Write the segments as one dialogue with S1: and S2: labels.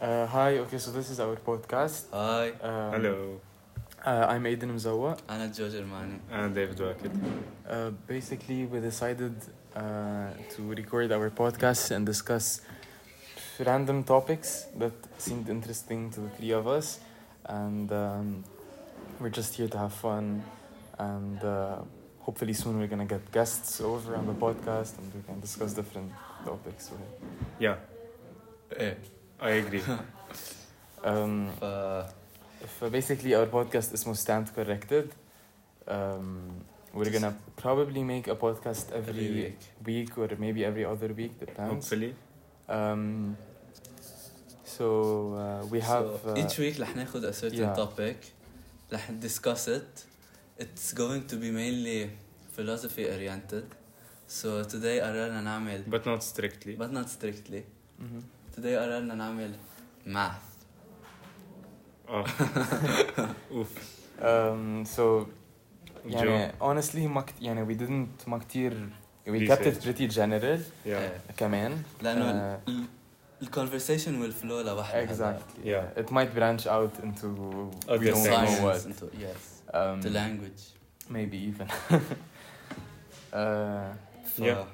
S1: Uh, hi, okay, so this is our podcast.
S2: هاي
S1: Um,
S3: Hello,
S1: Uh, I'm Aiden Mzawa.
S2: انا جورج الماني
S3: and Ah, David Wakid.
S1: Uh, basically, we decided uh, to record our podcast and discuss random topics that seemed interesting to the three of us. And um, we're just here to have fun. And uh, hopefully, soon we're going to get guests over on the podcast and we can discuss different topics. okay?
S3: Yeah,
S2: ايه
S3: I agree.
S1: Um,
S2: ف
S1: فبيسكلي اور بودكاست اسمه ستاند كوركتد Um, we're gonna probably make a podcast every
S2: every week
S1: week or maybe every other week depends
S3: Hopefully.
S1: um, so uh, we have
S2: so,
S1: uh,
S2: each week رح ناخذ a certain
S1: yeah.
S2: topic رح discuss it it's going to be mainly philosophy oriented so today قررنا نعمل
S3: But not strictly.
S2: but not strictly
S1: mhm.
S2: today قررنا نعمل math
S3: Oh.
S1: um, so
S3: Joe.
S1: يعني honestly ما كت- يعني we didn't ما كتير we kept
S3: Research.
S1: it pretty general
S3: Yeah.
S2: إيه.
S1: كمان
S2: لانه
S1: آه.
S2: ال- ال- conversation will flow لوحدها
S1: Uh, exactly
S3: Yeah.
S1: it might branch out into we
S3: Other
S1: don't know
S2: science
S1: what
S2: into yes
S1: um,
S2: to language
S1: Maybe even. uh,
S2: ف-
S3: Yeah.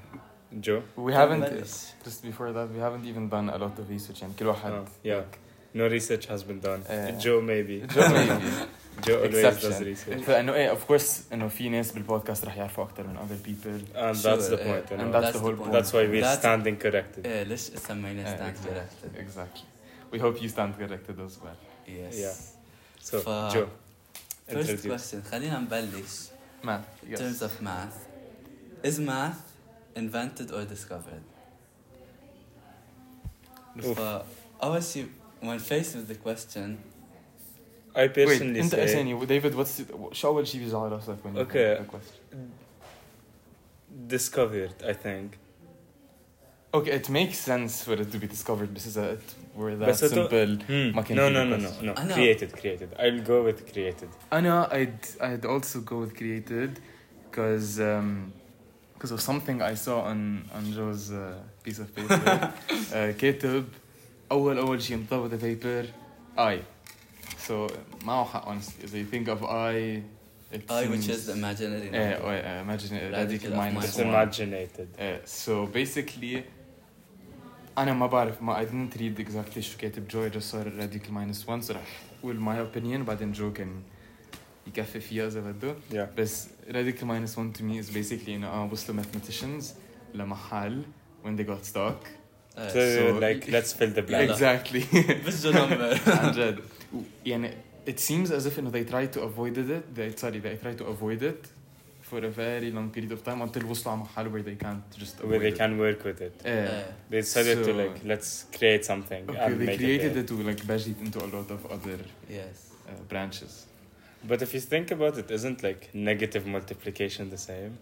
S3: Joe.
S1: we haven't
S2: بلش.
S1: just before that we haven't even done a lot of research and كل واحد
S3: Oh, yeah. No research has been done.
S1: Yeah.
S3: Joe maybe.
S1: Joe maybe.
S3: Joe always does
S1: Exception.
S3: research.
S1: فانه ايه of course انه في ناس بالبودكاست رح يعرفوا اكثر من other people.
S3: And
S2: Sure,
S3: that's the
S2: eh,
S3: point. You
S1: And
S3: know?
S1: that's the whole point.
S3: That's why we're
S2: That's-
S3: standing corrected.
S2: ايه ليش سميناه
S1: Yeah,
S2: stand corrected
S1: Eh, إيه، Exactly. We hope you stand corrected as well.
S3: Yeah.
S2: yes
S3: So,
S1: uh,
S2: ف-
S3: Joe,
S2: First
S3: introduce.
S2: question خلينا نبلش
S1: Man,
S2: in terms
S1: yes.
S2: of math is math invented or discovered
S3: Oof.
S2: فأول شيء when faced with the question
S3: I
S1: Wait,
S3: personally
S1: انت
S3: say
S1: اساني ديفيد واتس شو اول شيء بيجي على راسك when you
S3: eh, Okay.
S1: think the question?
S3: discovered, I think.
S1: Hmm. Okay, it makes sense for it to be discovered بس اذا it were that
S3: بس إنتو-
S1: simple
S3: Hmm.
S1: ما كان
S3: No,
S1: في
S3: no, no, no,
S1: question.
S3: no.
S2: I know.
S3: Created, created. I'll go with created.
S1: Anna, I'd I'd also go with created, cause um, cause of something I saw on on Joe's uh, piece of paper. uh, كاتب أول أول شيء انطبع the paper I. So معه حق honestly if you think of I, it
S2: I which
S1: seems-
S2: is the imaginary
S1: Eh,
S2: number.
S1: oh, eh, imagine it,
S2: Radical
S1: radical
S2: of minus
S1: minus
S3: It's
S2: one.
S1: one.
S3: imaginated.
S1: Eh, so basically أنا ما بعرف ما I didn't read exactly شو كاتب جو just صار radical minus one so رح قول my opinion بعدين جو كان يكفي فيها إذا بده
S3: Yeah.
S1: بس radical minus one to me is basically انه اه وصلوا mathematicians لمحل when they got stuck
S2: إيه.
S3: So,
S1: Uh, So-
S3: like, let's fill the blank.
S2: لا.
S1: exactly
S2: بس number
S1: عن جد و- يعني it seems as if انه they tried to avoid it they sorry they tried to avoid it for a very long period of time until وصلوا على محل where they can't just avoid
S3: where they
S1: it.
S3: can work with it.
S1: ايه
S2: إيه.
S3: They decided
S1: So-
S3: to like let's create something
S1: okay
S3: and
S1: they
S3: make
S1: created
S3: it.
S1: it to like budget into a lot of other
S2: yes
S1: uh, branches
S3: there. But if you think about it, isn't like negative multiplication the same?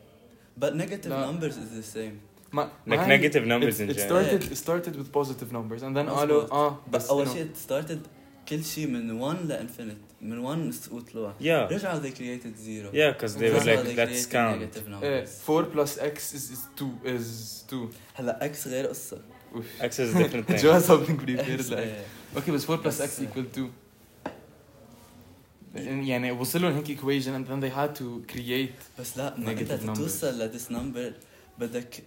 S2: but negative
S1: لا.
S2: numbers is the same
S1: ما
S3: Like
S1: ما هي-
S3: negative numbers
S1: it,
S3: in
S1: it
S3: general.
S1: started it started with positive numbers and then ah,
S2: مظبوط.
S1: قالوا اه
S2: بس
S1: بس
S2: أول
S1: إنه-
S2: شيء it started كل شيء من 1 ل infinite من 1 وطلوع
S3: Yeah,
S2: رجعوا they created zero
S3: yeah, because they were
S2: رجعوا
S3: like
S2: they
S3: let's
S2: created
S3: count.
S2: negative
S1: ايه
S2: numbers.
S1: 4 eh, plus x is, is 2 is 2
S2: هلا اكس غير قصه
S1: Oof.
S3: X is a different
S1: Joe
S3: thing.
S1: has something prepared like
S2: X، إيه.
S1: okay بس 4 plus
S2: بس-
S1: x equal to يعني وصلوا لهيك equation and then they had to create
S2: بس لا ما
S1: Negative
S2: بدها
S1: numbers.
S2: توصل لذيس نمبر بدك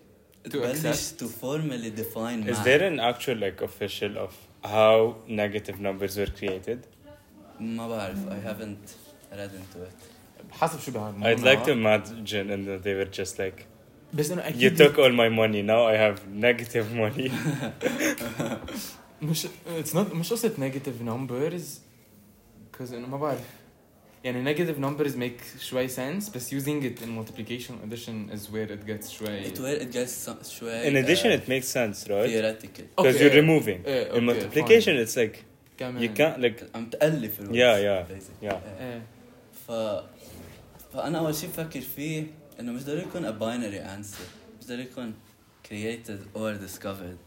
S1: To
S2: تبلش
S1: accept.
S2: تو فورمالي ديفاين
S3: Is there an actual like official of how negative numbers were created?
S2: ما بعرف I haven't read into it
S1: حسب شو بهذا
S3: I'd like to imagine and that they were just like
S1: بس انه اكيد
S3: you took all my money now I have negative money.
S1: مش eh, it's not مش قصة negative numbers cause eh, انه ما بعرف يعني negative numbers make شوي sense بس using it in multiplication addition is where it gets شوي
S2: it where it gets some- شوي
S3: In addition,
S2: uh,
S3: it makes sense, right?
S2: theoretical
S3: Because
S1: Okay.
S3: you're removing.
S1: إيه، eh, okay,
S3: In multiplication,
S1: fine. Mm.
S3: it's like
S1: كمان
S3: you can't like
S2: عم تألف الوقت
S3: Yeah, yeah.
S2: basically.
S3: yeah.
S1: ايه
S2: إيه. ف فأنا أول شيء بفكر فيه إنه مش ضروري يكون a binary answer مش ضروري يكون created or discovered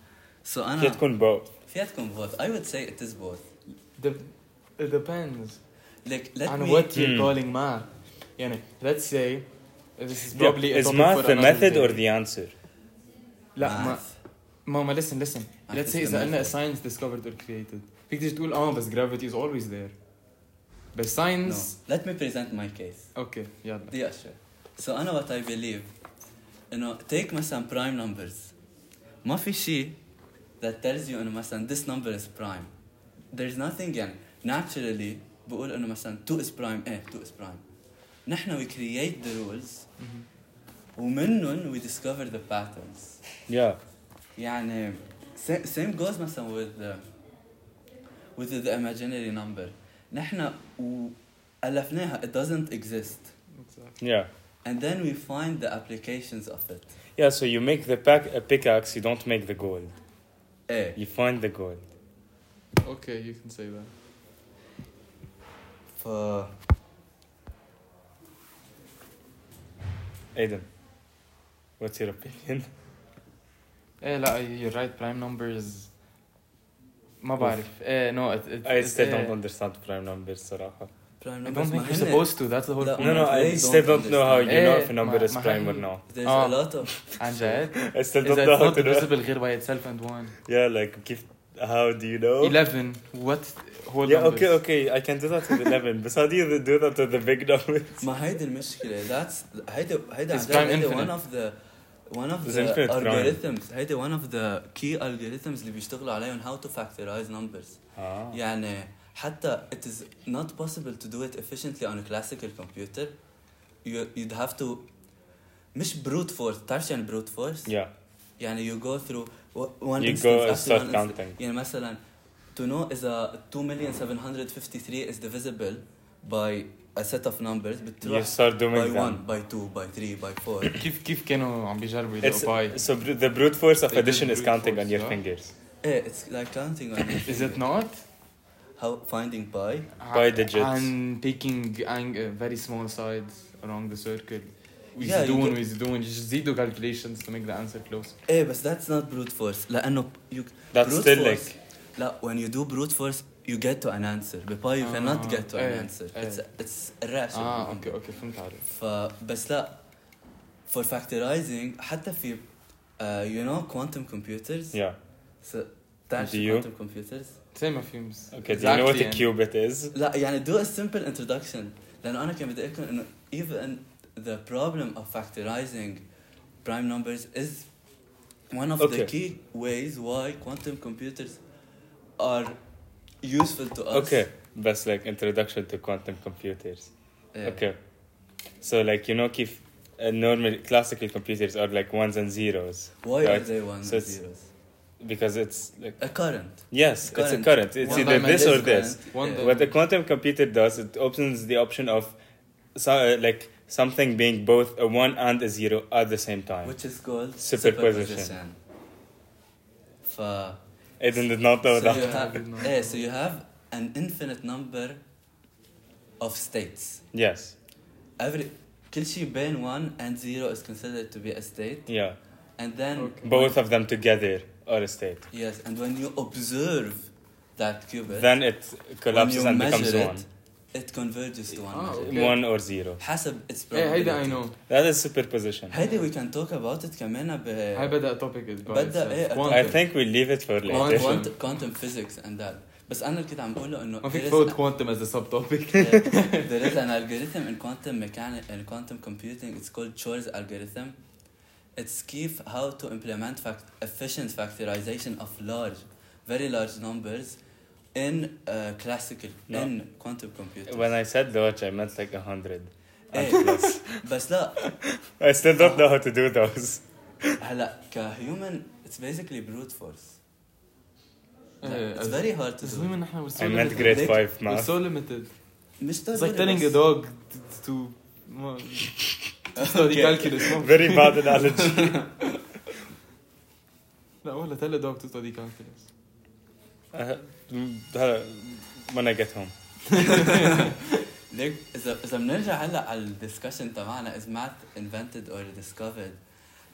S2: so
S1: Ah.
S3: فيها
S2: أنا
S3: تكون both
S2: فيها تكون both I would say it is both
S1: Dep- it depends
S2: like let
S1: on
S2: me
S1: what you're
S3: Hmm.
S1: calling math. Yani, let's say eh, this is
S3: Yeah,
S1: probably a
S3: is
S1: topic
S3: math
S1: for
S3: the
S1: another
S3: method
S1: day.
S3: or the answer
S1: لا ما
S2: math.
S1: ماما listen listen
S2: I
S1: let's say
S2: just
S1: إذا قلنا
S2: remembered.
S1: science discovered or created تقدر تقول اه بس gravity is always there بس
S2: No.
S1: science
S2: Let me present my case.
S1: اوكي يلا
S2: Yeah, sure. So أنا what I believe إنه take مثلا prime numbers ما في شيء that tells you إنه مثلا this number is prime. There's nothing يعني naturally بقول إنه مثلا 2 is prime إيه 2 is prime. نحن we create the rules ومنهم we discover the patterns.
S3: Yeah.
S2: يعني sa- same goes مثلا with the, with the imaginary number نحن و- ألفناها it doesn't exist
S3: Yeah.
S2: and then we find the applications of it
S3: Yeah, so you make the pack a pickaxe, you don't make the gold.
S2: ايه
S3: You find the gold.
S1: اوكي you can say that
S2: ف
S3: Adam, what's your opinion?
S1: ايه لا Eh, you're right prime numbers ما بعرف ايه Eh, no it, it,
S3: I
S1: it-
S3: still
S1: إيه.
S3: don't understand prime numbers, صراحة.
S2: prime
S1: I
S2: numbers
S1: don't
S2: ما
S1: think you're
S2: هن-
S1: supposed to that's the whole
S2: لا.
S1: point
S3: No, no, I
S2: They
S3: still
S2: don't
S3: don't know how you know
S1: understand. Eh,
S3: if a number
S1: إيه،
S3: is
S1: ما-
S3: prime or
S1: ما هي-
S3: not.
S2: there's
S1: آه.
S2: a lot of
S1: عن جد
S3: I still don't
S1: إذا
S3: know
S1: it's
S3: how
S1: eh? not
S3: to know.
S1: divisible غير by itself and one
S3: Yeah, like keep, how do you know?
S1: 11 what whole
S3: Oh. Yeah,
S1: numbers
S3: okay, okay, I can do that with 11, but how do you do that with the big numbers?
S2: ما هيدي المشكلة that's هيدي هيدي
S1: It's
S2: عن جد
S1: prime
S2: هيدي
S1: infinite.
S2: one of the one of
S3: It's
S2: the
S3: infinite prime.
S2: algorithms هيدي one of the key algorithms اللي بيشتغلوا عليهم how to factorize numbers
S3: Ah.
S2: يعني حتى it is not possible to do it efficiently on a classical computer you, you'd have to مش brute force بتعرف شو يعني brute force
S3: Yeah,
S2: يعني you go through o- one
S3: You
S2: instance
S3: go
S2: after
S3: start
S2: one instance.
S3: counting.
S2: يعني مثلا to know إذا 2,753 is divisible by a set of numbers
S3: you
S2: بتروح
S3: start
S2: by
S3: doing
S2: 1
S3: them.
S2: by 2 by 3 by 4
S1: كيف كيف كانوا عم بيجربوا
S3: It's,
S1: يلاقوا باي
S3: so br- the brute force of
S1: They did
S3: addition is
S1: brute
S3: counting
S1: force,
S3: on your
S1: yeah.
S3: fingers.
S2: إيه Eh, it's like counting on your
S1: is it
S2: finger.
S1: not Ah,
S2: how finding pi
S3: By digits.
S1: And taking ang- uh, very small sides along the circle.
S2: Yeah, you
S1: ويزيدون
S2: do-
S1: ويزيدون just زيدوا calculations to make the answer close.
S2: إيه بس that's not brute force لأنه you
S3: That's
S2: brute
S3: still
S2: force.
S3: like,
S2: لا when you do brute force you get to an answer بباي you
S1: آه،
S2: cannot
S3: Ah,
S2: get to an
S3: eh,
S1: إيه،
S2: answer
S1: إيه.
S2: it's it's irrational
S1: اه اوكي اوكي فهمت عليك.
S2: فبس لا for factorizing حتى في uh, you know quantum computers
S3: yeah.
S2: so, تعرف
S3: Do
S2: شو
S3: you?
S2: quantum computers
S1: زي ما فيمز.
S3: Okay, do you know what a
S1: Exactly,
S3: qubit is?
S2: لا يعني do a simple introduction لأنه أنا كان بدي أقول لكم إنه even the problem of factorizing prime numbers is one of the
S3: Okay.
S2: key ways why quantum computers are useful to us
S3: Okay, that's like introduction to quantum computers.
S2: إيه.
S3: Okay. So like you know Keith, uh, normal classical computers are like ones and zeros
S2: Why
S3: Right.
S2: are they ones
S3: So
S2: and
S3: it's-
S2: zeros?
S3: because it's like
S2: A current.
S3: yes, it's a
S2: Current.
S3: current. It's
S1: One
S3: either
S1: dimension
S3: this or
S1: current.
S3: this.
S1: One
S2: Yeah.
S1: di-
S3: What a quantum computer does, it opens the option of so, uh, like something being both a one and a zero at the same time.
S2: Which is called
S3: Superposition.
S2: ف
S3: Aiden did not know
S2: so you
S3: that.
S1: I did not
S2: have, eh, so you have an infinite number of states.
S3: Yes.
S2: Every كل شيء بين 1 and 0 is considered to be a state
S3: Yeah.
S2: and then
S1: Okay.
S3: Both of them together are a state.
S2: yes and when you observe that qubit
S3: Then it
S2: when
S3: collapses
S2: you
S3: and becomes
S2: measure
S3: one. Oh.
S2: it it converges to one
S1: Ah,
S2: measure.
S1: okay.
S3: One or zero.
S2: حسب its
S1: ايه
S2: probability
S1: هيدا I know.
S3: That is superposition.
S2: هيدي we can talk about it كمان ب
S1: هاي بدا topic is by
S2: بدأ
S1: itself.
S2: إيه، أتوقع.
S1: Quantum.
S3: I think we leave it for
S1: Quantum.
S3: later.
S2: كوانتم كوانتم فيزيكس اند ذات بس انا اللي كنت عم بقوله إيه انه
S1: ما فيك
S2: there is-
S1: تفوت quantum as a subtopic.
S2: there is an algorithm in quantum mechanics in quantum computing it's called Shor's algorithm it's key f- how to implement fact efficient factorization of large very large numbers in uh, classical
S3: No.
S2: in quantum computers
S3: When I said large, I meant like a hundred.
S2: إيه.
S3: Plus.
S2: بس لا
S3: I still don't know how to do those.
S2: هلا كهيومن it's basically brute force
S1: إيه،
S2: it's
S1: as-
S2: very hard to
S1: as
S2: do
S1: women نحن we're so
S3: I meant
S1: limited.
S3: grade
S2: Nick-
S3: five
S1: We're
S3: math.
S1: so limited.
S2: مش
S1: It's like
S2: ضروري
S1: telling
S2: بس-
S1: a dog to- to ما- to study
S2: Okay.
S1: calculus. ما-
S3: Very bad analogy.
S1: لا والله tell a dog to study calculus.
S3: Uh, uh, when I get home.
S2: ليك اذا اذا بنرجع هلا على الدسكشن تبعنا is math invented or discovered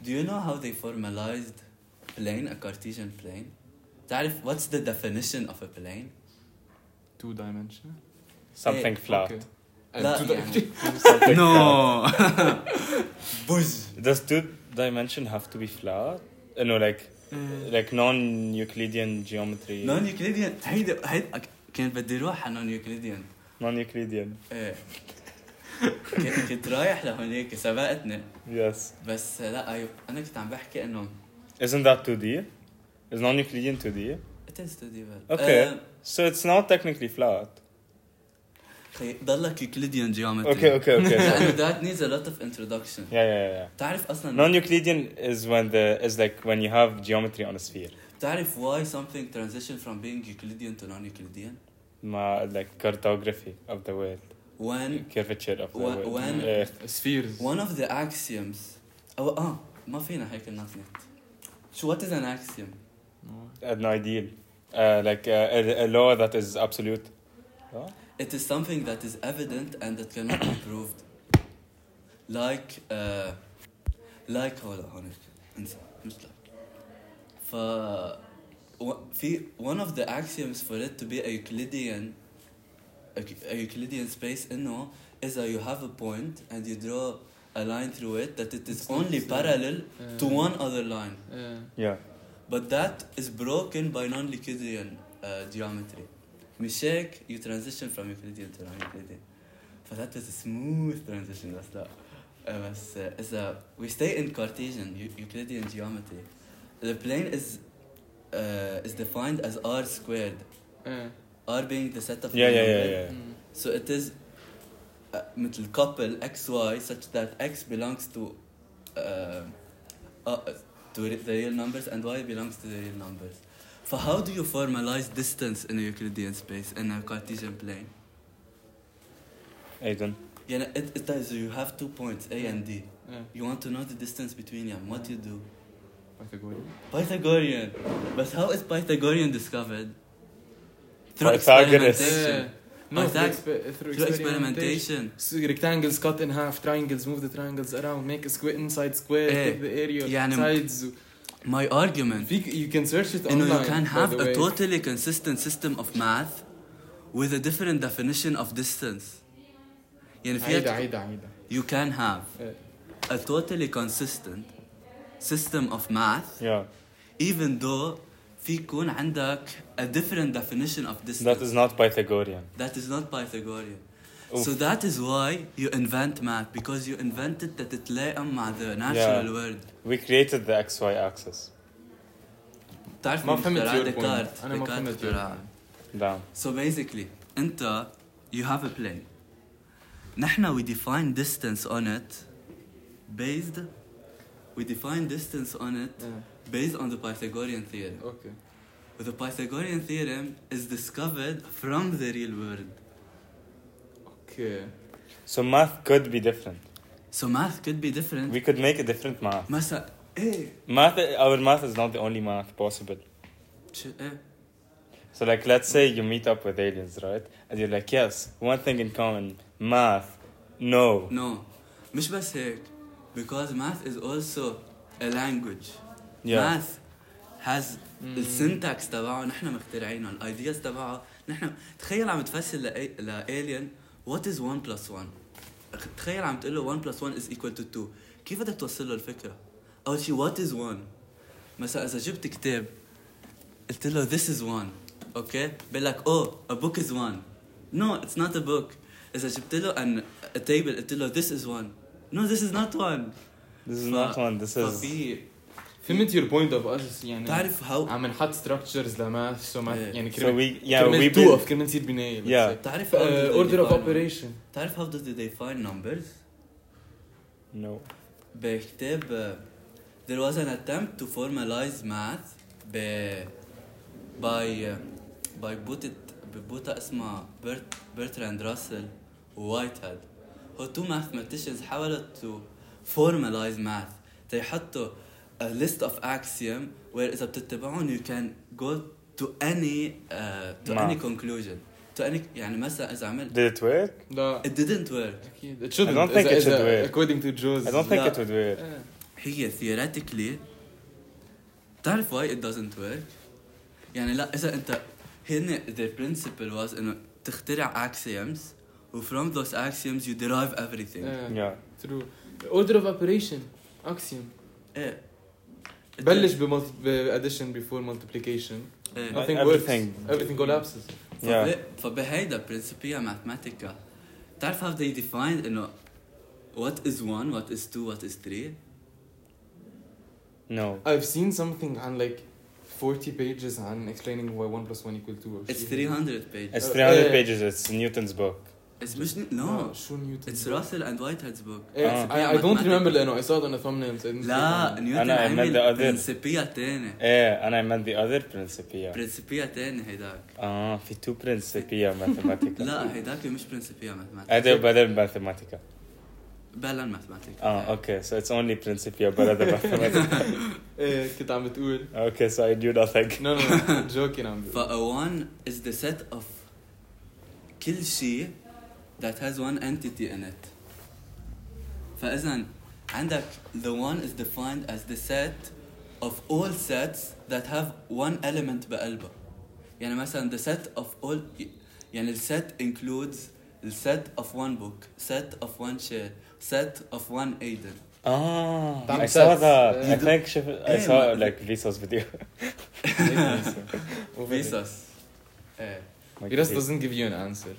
S2: do you know how they formalized plane a Cartesian plane تعرف what's the definition of a plane
S1: Two dimensional.
S3: Something
S2: Hey,
S3: flat.
S1: Okay. Uh,
S2: لا يعني
S3: Something
S2: بوز
S3: flat. Does two dimension have to be flat? Uh, No, like
S2: Mm.
S3: like non-Euclidean geometry.
S2: نون يوكليديان هيدا هيدا كان بدي اروح على نون يوكليديان
S3: Non-Euclidean.
S2: ايه ك- كنت رايح لهونيك سبقتني
S3: Yes.
S2: بس لا أيوة. انا كنت عم بحكي انه
S3: Isn't that 2D? Is non-Euclidean 2D?
S2: it is too deep.
S3: Okay.
S2: آه،
S3: So it's not technically flat.
S2: خي ضلك يوكليديان جيومتري
S3: Okay, okay, okay.
S2: لانه that needs a lot of introduction
S3: yeah, yeah, yeah.
S2: بتعرف اصلا
S3: Non-Euclidean is when the is like when you have geometry on a sphere.
S2: بتعرف why something transition from being Euclidean to non-Euclidean
S3: Ma like cartography of the world,
S2: when
S3: curvature of the
S2: Wha-
S3: world. Eh,
S2: when-
S3: Yeah.
S1: Uh, spheres
S2: one of the axioms او اه ما فينا هيك نطنط شو what is an axiom
S3: an ideal, uh, like uh, a, a law that is absolute. Huh?
S2: It is something that is evident and that cannot be proved. Like uh, like هولا هونيك انسى مش like ف و- في one of the axioms for it to be a Euclidean a, a Euclidean space إنه إذا you have a point and you draw a line through it that it is
S1: It's not
S2: only
S1: the same.
S2: parallel
S1: Uh,
S2: to one other line
S1: uh,
S3: Yeah.
S2: but that is broken by non-Euclidean uh, geometry. مش هيك you transition from Euclidean to non-Euclidean. فذات is a smooth transition بس لا. Uh, بس uh, إذا we stay in Cartesian Eu- Euclidean geometry, the plane is uh, is defined as r squared.
S1: uh,
S2: r being the set of
S3: Yeah, yeah, yeah,
S2: number.
S3: yeah.
S1: mm.
S2: So it is uh, مثل couple x y such that x belongs to uh, uh, to re- the real numbers and y belongs to the real numbers. For how do you formalize distance in a Euclidean space in a Cartesian plane?
S3: Aidan.
S2: Yeah, it, it does. You have two points A and D.
S1: yeah.
S2: You want to know the distance between them. What you do?
S1: Pythagorean.
S2: Pythagorean. But how is Pythagorean discovered? Through
S3: Pythagoras.
S2: experimentation.
S1: Uh, no, through,
S2: Pythag-
S1: expe- through
S2: Through
S1: experimentation.
S2: experimentation.
S1: So rectangles cut in half, triangles, move the triangles around, make a square inside square,
S2: Eh,
S1: take the area,
S2: يعني-
S1: sides.
S2: My argument.
S1: في- you can search it
S2: Eh, You
S1: online.
S2: know, you can
S1: by
S2: have
S1: the
S2: a
S1: way.
S2: totally consistent system of math with a different definition of distance. يعني
S1: عيدة
S2: فيها
S1: عيدة عيدة.
S2: you can have
S1: Eh,
S2: a totally consistent system of math
S3: Yeah.
S2: even though في يكون عندك a different definition of distance.
S3: That is not Pythagorean.
S2: That is not Pythagorean.
S3: Oof.
S2: So that is why you invent math because you invented تتلائم مع the natural world.
S3: We created the xy axis.
S2: بتعرف
S1: ما
S2: مين
S1: فهمت
S2: اخترع
S1: your
S2: ديكارت
S1: point. أنا ما
S2: ديكارت
S1: فهمت your
S2: اخترعها.
S1: point.
S3: Down.
S2: So basically, انت you have a plane. نحن we define distance on it based we define distance on it
S1: Eh,
S2: based on the Pythagorean theorem.
S1: Okay.
S2: The Pythagorean theorem is discovered from the real world.
S1: Okay.
S3: So math could be different.
S2: So math could be different. eh,
S3: We could make a different math.
S2: مثلا ايه
S3: Math, our math is not the only math possible.
S2: شو- ايه
S3: So like, let's say you meet up with aliens, right? And you're like, yes, one thing in common, math. No.
S2: no مش بس هيك because math is also a language
S3: Yeah. Mm.
S2: math has السنتاكس تبعه نحن مخترعينه الايدياز تبعه نحن تخيل عم تفسر لأي... لالين وات از 1 بلس 1 تخيل عم تقول له 1 بلس 1 از ايكوال تو 2 كيف بدك توصل له الفكره؟ اول شيء وات از 1 مثلا اذا جبت كتاب قلت له this is one اوكي بقول لك اوه a book is one no it's not a book اذا جبت له an a table قلت له this is one no this is not one
S3: This is
S2: ف-
S3: not one. This is.
S2: ففي
S1: فهمت your point of us يعني
S2: بتعرف how
S1: عم نحط structures لماث سو ماث
S2: إيه.
S1: يعني
S3: So
S1: كرمال
S3: we yeah we
S1: كرمال
S3: build-
S1: two of كرمال تصير بناية let's
S3: Yeah.
S1: say.
S2: بتعرف how do
S1: Uh,
S2: they
S1: order of
S2: define-
S1: operation
S2: بتعرف how do they define numbers
S3: no.
S2: بكتاب uh, there was an attempt to formalize math ب by uh, by بوتة ببوتة اسمها برت برتراند راسل ووايت هيد هو two mathematicians حاولوا to formalize math تيحطوا a list of axiom where إذا بتتبعهم you can go to any uh, to
S3: Math.
S2: any conclusion to any يعني مثلا إذا عملت
S3: Did it work?
S1: لا
S2: it didn't work
S1: اكيد it shouldn't
S3: I don't think
S1: إذا-
S3: it should
S1: إذا-
S3: work.
S1: according to Jaws
S3: I don't think
S2: لا.
S3: it would work.
S1: آه.
S2: هي theoretically بتعرف why it doesn't work؟ يعني لا إذا أنت هن their principle was إنه تخترع axioms و from those axioms you derive everything
S1: آه.
S3: Yeah.
S1: True. Order of operation. Axiom.
S2: إيه
S1: بلش باديشن بيفور مالتيبليكيشن
S2: إيه.
S1: nothing
S3: Everything.
S1: works everything collapses
S3: Yeah.
S2: فب- فبهيدا برنسبيا ماثماتيكا بتعرف how they defined انه what is one what is two what is three
S3: No.
S1: I've seen something on like 40 pages on explaining why 1 plus 1 equal 2 or
S2: it's
S1: شي.
S2: 300 pages
S3: It's
S1: Uh,
S3: 300
S1: uh,
S3: pages. It's Newton's book.
S2: it's مش
S1: آه،
S2: no
S1: شو نيوتن
S2: Oh, it's Russell and Whitehead's book
S1: Eh,
S3: آه.
S1: I, I don't remember لانه I saw it on a thumbnail so I didn't
S2: لا
S1: click on it.
S2: نيوتن
S3: أنا meant the
S2: عمل
S3: other.
S2: برنسبيا تاني
S3: Yeah, and I meant the other Principia.
S2: برنسبيا تاني هيداك
S3: Ah, في two Principia Mathematica.
S2: لا هيداك مش برنسبيا ماثماتيكا
S3: Other brother Mathematica.
S2: بلا ماثماتيكا
S3: Ah, okay. So it's only Principia brother Mathematica.
S1: إيه، كنت عم بتقول
S3: Okay, so I do nothing.
S1: no no no joking عم بقول
S2: ف a one is the set of كل شيء that has one entity in it فإذا عندك the one is defined as the set of all sets that have one element بقلبها يعني مثلا the set of all يعني ال set includes the set of one book set of one chair set of one aiden
S3: Ah,
S1: Tam
S3: I saw
S1: sets.
S3: that.
S1: Uh,
S3: I think she, I
S2: Yeah,
S3: saw
S2: but-
S3: like Lisa's video.
S2: فيساس ايه
S3: Like,
S1: He just
S3: he-
S1: doesn't give you an answer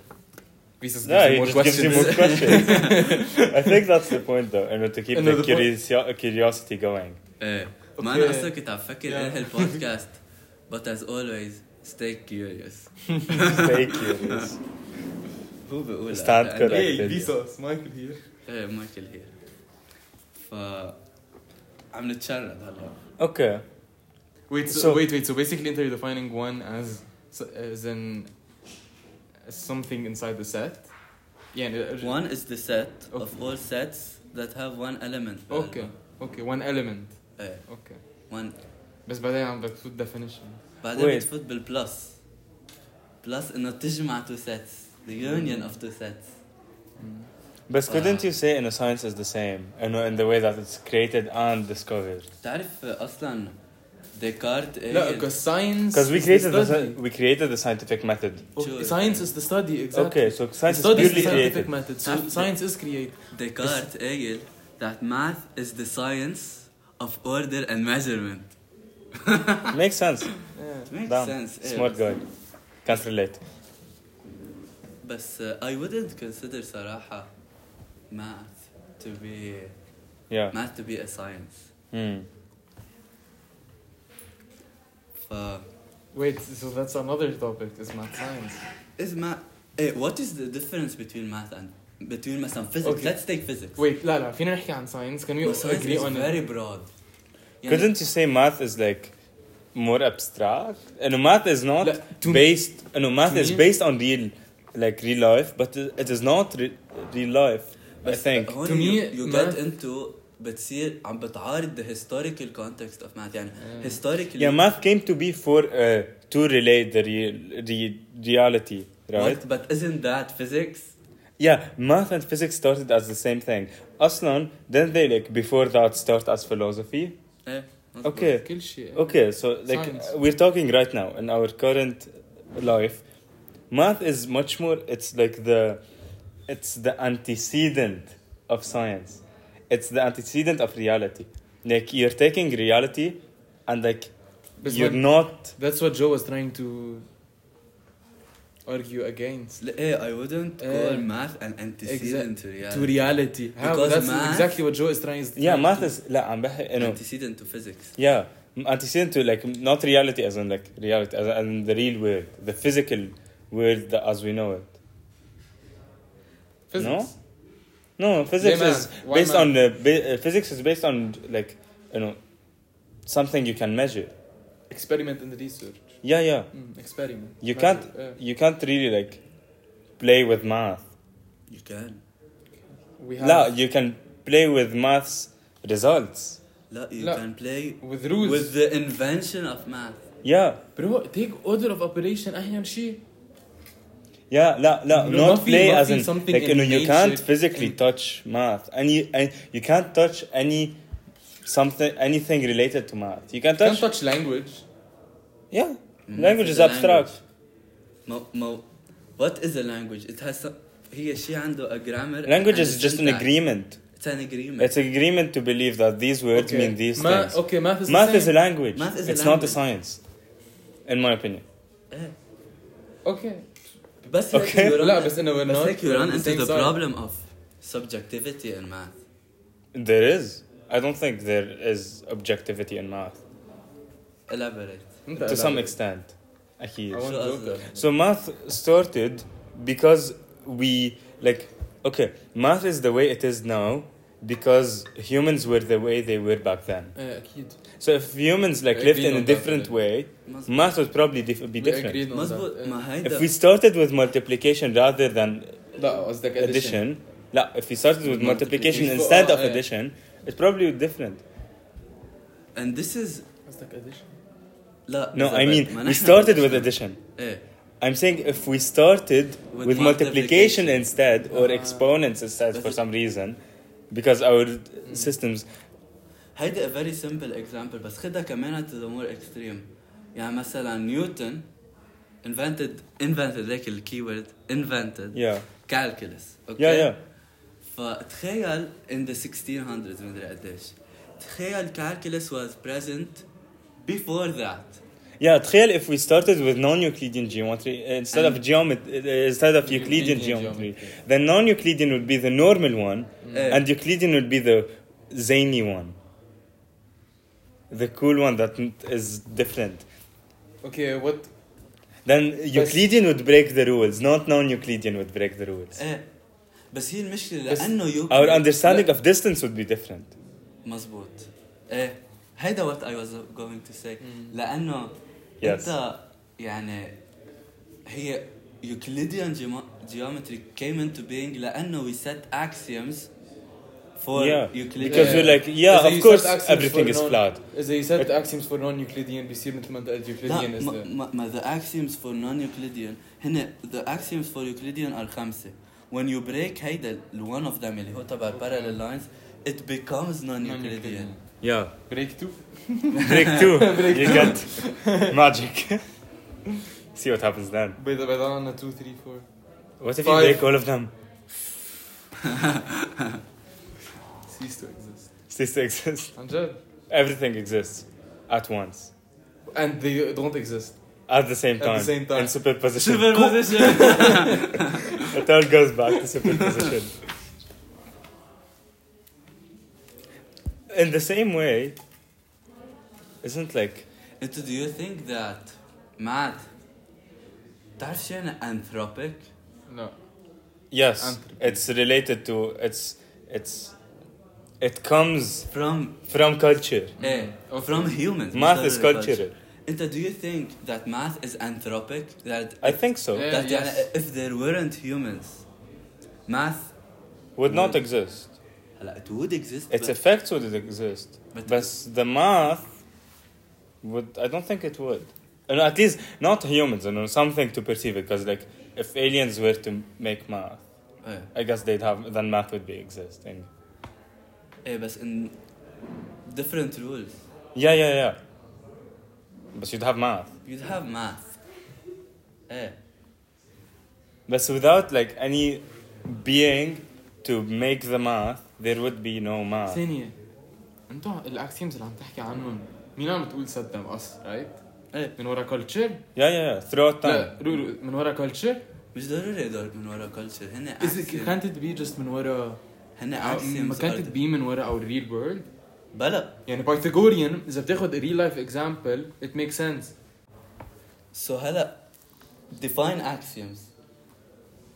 S1: He just
S3: No,
S1: gives you
S3: he
S1: more
S3: just gives you
S1: questions
S3: more questions. I think that's the point, though, and to keep
S1: And the
S3: the
S1: point-
S3: curiosity, curiosity going.
S2: ايه
S1: Eh.
S2: ما
S1: Okay.
S2: انا اصلا كنت عم فكر
S1: Yeah.
S2: ايه هالبودكاست but as always stay curious
S3: Stay curious.
S2: هو بيقول
S3: Stand
S2: لأنه-
S3: correct.
S1: Hey, Vsauce, Michael here
S2: ايه مايكل هي ف عم نتشرد هلا
S3: Okay.
S1: Wait, so,
S3: So-
S1: wait, wait. So basically, they're defining one as s- as an as something inside the set. Yeah. and-
S2: one is the set of
S1: Okay.
S2: all sets that have one element بقلبها.
S1: Okay. Okay. One element.
S2: ايه
S1: Okay.
S2: one
S1: بس بعدين عم بتفوت definition.
S2: بعدين
S3: Wait.
S2: بتفوت بالبلس بلس انه تجمع two sets the union of two sets Mm.
S3: But couldn't
S2: Ah.
S3: you say, in a science is the same, and in the way that it's created and discovered?
S2: بتعرف اصلا ديكارت ايه
S1: لا, because science.
S3: Because we
S1: is the
S3: created the
S1: study.
S3: sci- we created the scientific method.
S1: Okay, science is the study exactly.
S3: Okay, so
S1: The
S3: science is
S1: study is the
S3: purely
S1: scientific
S3: created.
S1: method. So
S2: Science-
S1: science is created.
S2: Descartes قايل that math is the science of order and measurement.
S3: Makes sense.
S1: Yeah.
S2: Makes
S3: Damn.
S2: sense. eh,
S3: Smart
S2: بس-
S3: guy. Can't relate.
S2: بس uh, I wouldn't consider صراحة math to be
S3: Yeah.
S2: math to be a science.
S3: Hmm.
S2: ف
S1: Wait, so that's another topic. Is math science?
S2: is math eh, what is the difference between math and between مثلا physics
S1: Okay.
S2: let's take physics
S1: Wait, لا لا. فينا نحكي عن science. Can we
S2: But science
S1: agree
S2: is
S1: on
S2: very
S1: it?
S2: broad يعني
S3: Couldn't you say math is like more abstract? And math is not
S1: لا, to me-
S3: based. uh, No, math
S1: to
S3: is
S1: me-
S3: based on real, like real life, but it is not re- real life.
S1: uh,
S3: I
S2: بس
S3: think.
S2: هون
S1: To
S2: uh, you,
S1: me,
S2: you
S1: math-
S2: get into بتصير عم بتعارض the historical context of math يعني
S1: Yeah.
S2: historically
S3: Yeah, math came to be for uh, to relate the real, re- reality, right?
S2: But, but isn't that physics?
S3: Yeah, math and physics started as the same thing. Aslan, then they like before that start as philosophy.
S2: Eh, مظبوط.
S3: Okay,
S1: كل شيء.
S3: Okay, so like
S1: Science.
S3: we're talking right now in our current life, math is much more. It's like the, it's the antecedent of science. It's the antecedent of reality. Like you're taking reality, and like
S1: But
S3: you're
S1: when-
S3: not.
S1: That's what Joe was trying to argue against.
S2: لا، ايه I wouldn't call
S1: Eh.
S2: math an antecedent to
S1: To
S2: reality.
S1: reality. How-
S2: Because
S1: that's
S2: math-
S1: exactly what Joe is trying is
S3: Yeah,
S1: trying
S3: math
S1: to-
S3: is لا عم بحكي إنه
S2: Antecedent to physics.
S3: yeah antecedent to like not reality as in like reality as in the real world, the physical world that as we know it.
S1: physics.
S3: No? No, physics
S1: man.
S3: is
S1: Why
S3: based
S1: man?
S3: on the ba- uh, physics is based on like you know something you can measure.
S1: Experiment and research.
S3: Yeah, yeah.
S1: Mm, experiment.
S3: You
S1: Math,
S3: can't
S1: uh,
S3: you can't really like play with math.
S2: You can.
S1: we have
S3: No, you can play with maths results.
S2: لا you
S1: لا.
S2: can play
S1: with rules.
S2: with the invention of math.
S3: Yeah.
S1: Bro, take order of operation أحيان شيء.
S3: Yeah, لا لا
S1: No,
S3: not
S1: nothing-
S3: play as
S1: nothing,
S3: in
S1: something
S3: like you
S1: in
S3: know you can't
S1: nature,
S3: physically
S1: in-
S3: touch math. Any, any you can't touch any something anything related to math. You can
S1: Can't
S3: touch
S1: touch language.
S3: yeah.
S2: Mm,
S3: Language
S2: it's
S3: is
S2: a
S3: abstract.
S2: مو مو what is a language? It has some, هي شيء عنده a grammar.
S3: Language
S2: and a
S3: is just an
S2: syntax.
S3: agreement.
S2: It's an agreement.
S3: It's agreement to believe that these words
S1: Okay.
S3: mean these
S1: Ma-
S3: things.
S1: Okay, math is the
S3: Math is a
S1: same.
S3: language.
S2: Math is a
S3: it's not a
S2: language.
S3: science, in my opinion.
S2: إيه.
S1: Okay.
S2: بس
S3: Okay.
S2: هيك you run-
S1: لا، بس إنه we're
S2: بس
S1: not
S2: هيك you run
S1: on the
S2: into
S1: same
S2: the
S1: side.
S2: problem of subjectivity in math.
S3: There is. I don't think there is objectivity in math
S2: Elaborate.
S1: أنت
S3: to some
S1: elaborate. Oh.
S3: extent. أكيد.
S1: I want
S2: شو
S1: to
S2: قصدك؟
S1: look at-
S3: So math started because we like okay, math is the way it is now because humans were the way they were back then.
S1: إيه، أكيد.
S3: So if humans like
S1: We
S3: lived
S1: agreed
S3: in a
S1: on that,
S3: different
S1: yeah.
S3: way,
S2: مزبوط.
S3: math would probably dif- be
S1: We
S3: different.
S1: agreed on
S2: مزبوط
S1: that. Eh. إيه.
S2: ما
S3: If we
S2: هيدا
S3: started with multiplication rather than
S1: لا قصدك addition.
S3: addition, لا, if we started with multiplication
S1: Multiplication.
S3: instead of
S1: Yeah.
S3: addition, it probably would different.
S2: and this is
S1: قصدك addition.
S2: لا
S3: No, I
S2: بالضبط.
S3: mean
S2: ما
S3: we
S2: نحن
S3: started with
S2: بلشنا.
S3: addition.
S2: ايه
S3: I'm saying if we started with,
S2: With
S3: multiplication,
S2: multiplication.
S3: instead or
S1: Ah.
S3: exponents instead
S2: But
S3: for
S2: it-
S3: some reason, because our systems
S2: هيدا a very simple example بس خدها كمان to the more extreme يعني مثلا نيوتن invented invented هيك الكيورد invented
S3: yeah
S2: calculus okay
S3: yeah yeah
S2: فتخيل in the 1600s مدري قديش تخيل calculus was present before that
S3: yeah تخيل if we started with non-Euclidean geometry uh, instead of
S2: And-
S3: geometry instead of Euclidean,
S1: Euclidean
S3: geometry,
S1: geometry.
S3: then non-Euclidean would be the normal one
S2: Eh.
S3: and Euclidean would be the zany one, the cool one that n- is different.
S1: Okay, what
S3: Then Euclidean would break the rules, not non-Euclidean would break the rules.
S2: ايه بس هي المشكله
S3: بس
S2: لانه يو
S3: Our understanding of distance would be different.
S2: مزبوط ايه هيدا what I was going to say لأنه
S3: Yes.
S2: أنت يعني هي Euclidean geoma- geometry came into being لأنه we set axioms for
S3: yeah,
S2: Euclidean
S3: because
S1: Yeah.
S3: we're like, yeah,
S1: إذا
S3: of
S1: you
S3: course,
S1: set axioms
S3: everything
S1: for
S3: is
S1: non-
S3: flat.
S1: إذا you set axioms for non-Euclidean بيصير مثل ما أنت قلت Euclidean
S2: لا
S1: is
S2: ما,
S1: the
S2: ما, ما the axioms for non-Euclidean هن the axioms for Euclidean are خمسة when you break هيدا ال- one of them اللي هو تبع parallel lines it becomes non-Euclidean
S1: non-Euclidean.
S3: Yeah,
S1: Break two.
S3: break two, you get magic. See what happens then.
S1: بيضا بيضا عنا 2 3 4
S3: What if
S1: Five.
S3: you break all of them?
S1: cease to exist.
S3: Cease to exist.
S1: عن جد.
S3: Everything exists at once,
S1: And they don't exist.
S3: at the same
S1: At the
S3: time,
S1: same time.
S3: in superposition.
S2: superposition
S3: it all goes back to superposition. In the same way, isn't like
S2: انت do you think that math بتعرف شو يعني anthropic؟
S1: No.
S3: Yes,
S1: Anthropy.
S3: it's related to it's it's it comes
S2: from
S3: from culture.
S2: ايه
S1: Okay.
S2: from humans
S3: Math
S2: مش
S3: is
S2: ضروري
S3: cultural.
S2: انت do you think that math is anthropic? That
S3: I think so.
S1: Yeah.
S2: that يعني
S1: yes.
S2: if there weren't humans math
S3: Would not exist.
S2: هلا it would exist
S3: Its
S2: but,
S3: effects would exist,
S2: But-
S3: but the math would. I don't think it would. And at least not humans, and something to perceive it. Because like, if aliens were to make math,
S2: ايه,
S3: I guess they'd have then math would be existing.
S2: ايه بس in different rules
S3: Yeah, yeah, yeah. But you'd have math.
S2: you'd have math ايه
S3: But without like any being to make the math, there would be no math.
S1: ثانية. انتوا الاكسيومز اللي عم تحكي عنهم مين عم بتقول set them us, right?
S2: ايه
S1: من ورا culture؟
S3: Yeah, yeah, yeah. Throughout time.
S1: لا رو- رو- من ورا culture؟
S2: مش ضروري يدور من ورا culture هن
S1: Is it,
S2: axioms
S1: can't it be just من ورا
S2: هن
S1: ما
S2: axioms
S1: Um, can't it
S2: are-
S1: be من ورا our real world؟
S2: بلا
S1: يعني بايثاغوريان اذا بتاخد a real life example it makes sense
S2: سو هلا define axioms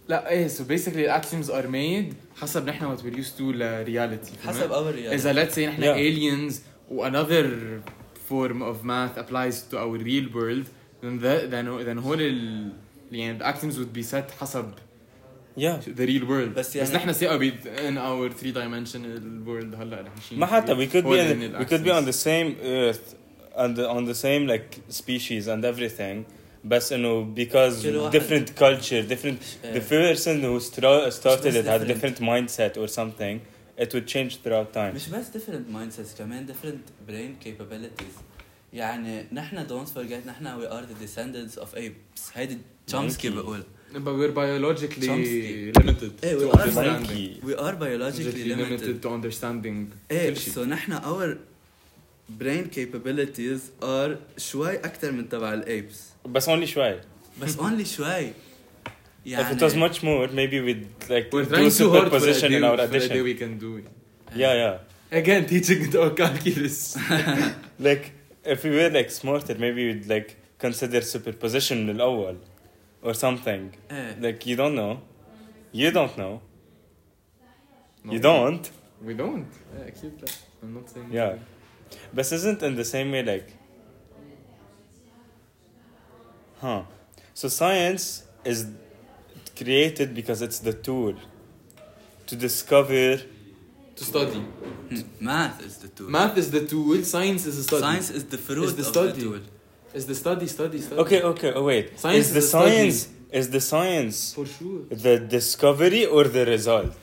S1: لا ايه so basically the axioms are made حسب نحن what we're used to ل reality فهمت؟
S2: حسب يعني. اول رياضة
S1: اذا let's say نحن
S3: Yeah.
S1: aliens و another form of math applies to our real world then the, then then هول ال يعني the axioms would be set حسب
S3: Yeah.
S1: the real world
S2: بس
S1: بس,
S2: يعني-
S1: بس نحن ثقة ب in our three dimensional world هلا رح نشيل
S3: ما حتى we could be
S1: هول هن
S3: in, we could be
S1: الaxioms.
S3: on the same earth and on the same like species and everything. But you know because
S2: كل واحد-
S3: different culture, different
S2: Yeah.
S3: the person who stra- started
S2: بس
S3: it had
S2: different.
S3: different mindset or something. It would change throughout time.
S2: مش بس different mindsets كمان different brain capabilities يعني نحن don't forget نحن we are the descendants of apes هيدي تشومسكي
S3: Monkey.
S2: بقول
S1: But we're biologically
S2: Chomsky.
S1: limited
S2: Eh, we
S1: to
S2: are
S1: understanding.
S2: we are biologically
S1: Limited.
S2: limited
S1: to understanding
S2: ايه
S1: كل شيء.
S2: سو نحن our brain capabilities are شوي اكثر من تبع الايبس
S3: بس only شوي.
S2: بس only شوي يعني
S3: If it was much more, maybe we'd like
S1: We're
S3: do
S1: trying too hard for a
S3: superposition in our
S1: day, for a day
S3: addition.
S1: we can do it.
S3: Yeah, yeah.
S1: Again, teaching it our calculus.
S3: Like if we were like smarter, maybe we'd like consider superposition من الأول or something.
S2: ايه
S3: Like you don't know, you don't know,
S1: No,
S3: you don't.
S1: We don't. Yeah, keep that. I'm not saying.
S3: Yeah. But isn't in the same way like Huh. So science is created because it's the tool to discover
S1: To study.
S2: Hmm. math is the tool
S1: Math is the tool. Science is a study.
S2: science is the fruit
S1: Is the
S2: of
S1: study.
S2: the tool
S1: is the study. Study. Study.
S3: Okay, okay, oh wait.
S1: Science
S3: is
S1: is
S3: the
S1: a study.
S3: science is the science
S1: For sure.
S3: the discovery or the result?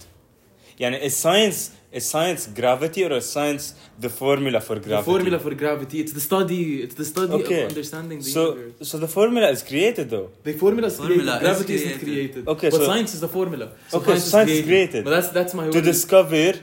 S3: يعني is science is science gravity or is science the formula for gravity?
S1: The formula for gravity. It's the study. It's the study
S3: Okay.
S1: of understanding the
S3: so
S1: universe.
S3: so the formula is created though.
S1: The formula is
S2: Formula
S1: created.
S2: is
S1: Gravity is not
S2: created.
S1: created.
S3: Okay,
S1: but
S3: so-
S1: science is the formula. So
S3: Okay, science is created.
S1: But that's that's my
S3: To
S1: word.
S3: discover the,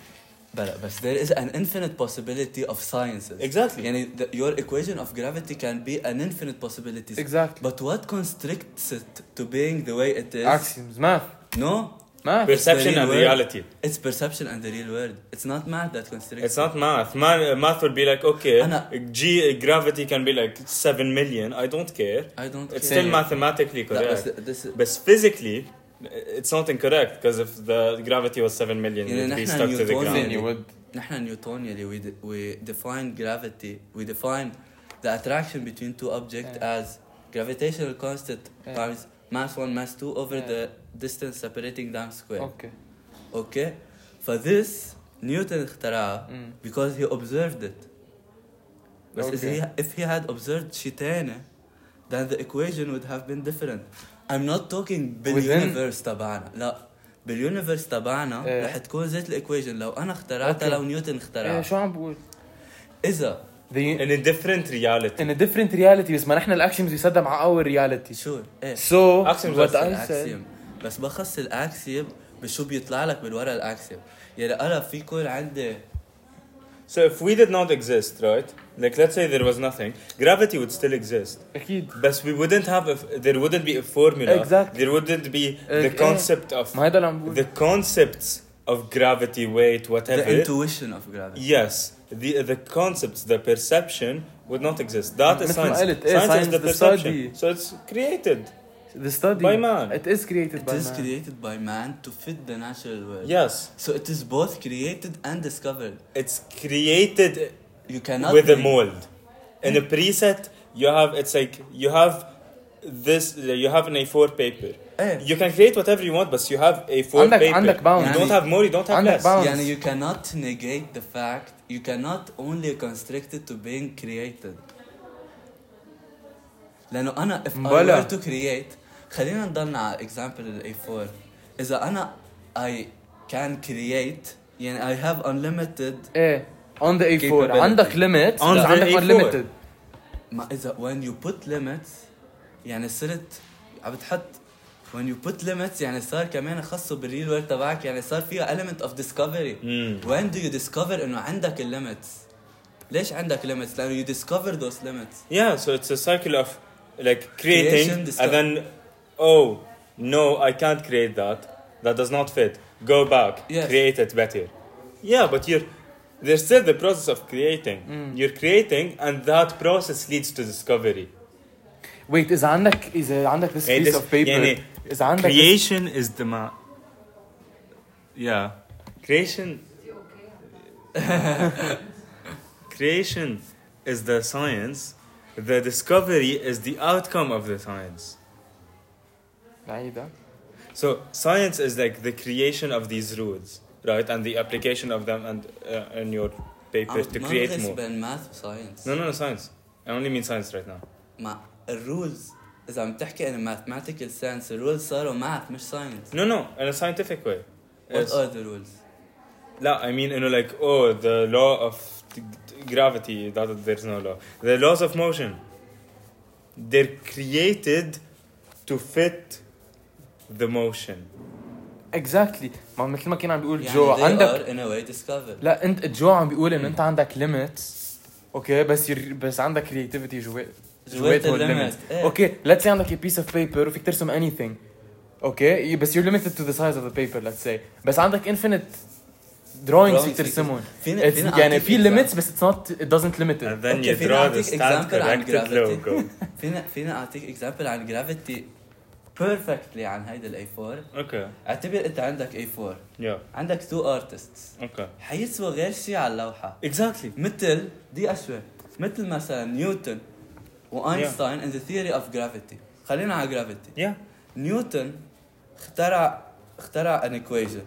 S2: بلا بس there is an infinite possibility of sciences
S3: Exactly.
S2: يعني the, your equation of gravity can be an infinite possibilities
S1: Exactly.
S2: but what constricts it to being the way it is
S1: Axioms. Math.
S2: no
S1: Math.
S3: Perception
S2: It's the
S3: and
S2: real
S3: reality.
S2: it's perception and the real world it's not math that constricts
S3: It's not math. Man, math would be like, okay,
S2: أنا-
S3: G gravity can be like 7 million. I don't care.
S2: I don't
S3: It's
S2: care.
S3: still mathematically
S2: لا بس
S3: correct.
S2: this
S3: But physically, it's not incorrect because if the gravity was 7 million,
S2: يعني
S3: it'd be
S2: نحن
S3: stuck to the
S2: نيوتن-
S3: ground.
S1: Then you would.
S2: نحن نيوتون يلي we, de- we define gravity we define the attraction between two objects as gravitational constant times mass 1 mass 2 over the distance separating them square
S1: Okay.
S2: اوكي فذس نيوتن اخترعها because he observed it بس okay. if,
S1: Okay.
S2: he, if he had observed شيء تاني then the equation would have been different I'm not talking باليونيفرس تبعنا لا باليونيفرس تبعنا
S1: إيه.
S2: رح تكون زيت الايكويشن لو انا اخترعتها
S1: Okay.
S2: لو نيوتن اخترعها
S1: إيه، شو عم بقول؟
S2: اذا
S1: The,
S3: In a different reality.
S1: in a different reality بس ما نحن الاكشنز بيصدق مع اور reality.
S2: شو ايه
S1: So
S3: Axioms
S1: what I
S3: are
S1: said
S2: الاكسيوم بس بخص الاكسيوم بشو بيطلع لك بالورا الاكسيوم يعني انا في يكون عندي
S3: So if we did not exist, right? Like let's say there was nothing, gravity would still exist.
S1: اكيد
S3: But we wouldn't have a, there wouldn't be a formula.
S1: Exactly.
S3: There wouldn't be the
S1: Okay.
S3: concept of
S1: ما هيدا اللي عم بقول
S3: the concepts of gravity, weight,
S2: the
S3: whatever.
S2: intuition of gravity
S3: yes, the the concepts, the perception would not exist. That is
S1: مثل ما
S3: science.
S1: قلت، إيه، eh,
S3: science is
S1: science
S3: the
S1: the
S3: perception.
S1: study.
S3: So it's created.
S1: the study
S3: By man.
S1: it is created
S2: It
S1: by
S2: is
S1: man
S2: created by man to fit the natural world.
S3: Yes,
S2: So it is both created and discovered.
S3: it's created
S2: You cannot
S3: with a
S2: make-
S3: mold. In a preset, you have it's like you have this you have an A4 paper.
S2: Eh.
S3: You can create whatever you want, but you have A4
S1: عندك-
S3: paper.
S1: عندك bounds.
S3: You don't have more. You don't have
S1: عندك
S3: less.
S1: bounds.
S2: يعني you cannot negate the fact. You cannot only constrict it to being created. لأنه أنا if I
S1: مبلا.
S2: were to create خلينا نضلنا على example ال A4 إذا أنا I can create يعني I have unlimited
S1: ايه on the A4
S3: Capability.
S1: عندك limits
S3: On
S1: بس
S3: the
S1: عندك
S3: A4.
S1: unlimited
S2: ما اذا when you put limits يعني صرت عم بتحط when you put limits يعني صار كمان خاصه بالريل وورد تبعك يعني صار فيها element of discovery
S3: مم.
S2: when do you discover انه عندك الليمتس ليش عندك limits لانه you discover those limits
S3: Yeah, so it's a cycle of like
S2: Creation,
S3: creating
S2: discover-
S3: and then oh no, I can't create that. That does not fit. Go back,
S2: Yes.
S3: create it better. Yeah, but you're there's still the process of creating. You're creating and that process leads to discovery.
S1: wait اذا عندك اذا عندك this
S3: يعني
S1: piece
S3: this-
S1: of paper
S3: يعني
S1: اذا عندك this-
S3: creation is the ma yeah creation creation is the science the discovery is the outcome of the science
S1: بعيدة
S3: so science is like the creation of these rules right and the application of them and uh, in your papers to create more.
S2: بين math وساينس
S3: No, no, no, science. I only mean science right now.
S2: مع الرولز اذا عم تحكي ان mathematical ساينس الرولز صاروا math مش ساينس
S3: No, no, in a scientific way.
S2: what
S3: Yes.
S2: are the rules
S3: لا I mean you know like oh the law of t- t- gravity that there's no law the laws of motion they're created to fit the motion
S1: اكزاكتلي ما مثل ما كان عم بيقول
S2: يعني
S1: جو
S2: they
S1: عندك
S2: are in a way discovered
S1: لا انت جو عم بيقول ان انت عندك ليميتس اوكي بس ير... بس عندك كرياتيفيتي جوا
S2: جوات
S1: جواتهم
S2: الليمت
S1: limits.
S2: إيه.
S1: اوكي ليتس سي عندك بيس اوف بيبر وفيك ترسم اني ثينج اوكي بس يو ليميتد تو ذا سايز اوف ذا بيبر ليتس سي بس عندك انفينيت دراينجز
S2: Drawings
S1: فيك ترسمهم
S2: فينا
S1: It's-
S2: فينا
S1: يعني
S2: أعطيك
S1: في
S2: example.
S1: limits بس it's not it doesn't limit it
S3: and then
S2: Okay,
S3: you
S2: فينا
S3: draw the
S2: أعطيك
S3: stand
S2: example عن
S3: corrected
S2: gravity.
S3: logo
S2: فينا فينا اعطيك اكزامبل عن جرافيتي بيرفكتلي عن هيدا الاي 4
S3: okay
S2: اعتبر انت عندك اي 4
S3: yeah
S2: عندك تو ارتستس
S3: okay
S2: حيسوى غير شيء على اللوحه
S3: exactly
S2: مثل دي اشوي مثل مثلا نيوتن واينشتاين ان ذا ثيوري اوف جرافيتي خلينا على جرافيتي
S3: yeah
S2: نيوتن اخترع اخترع an equation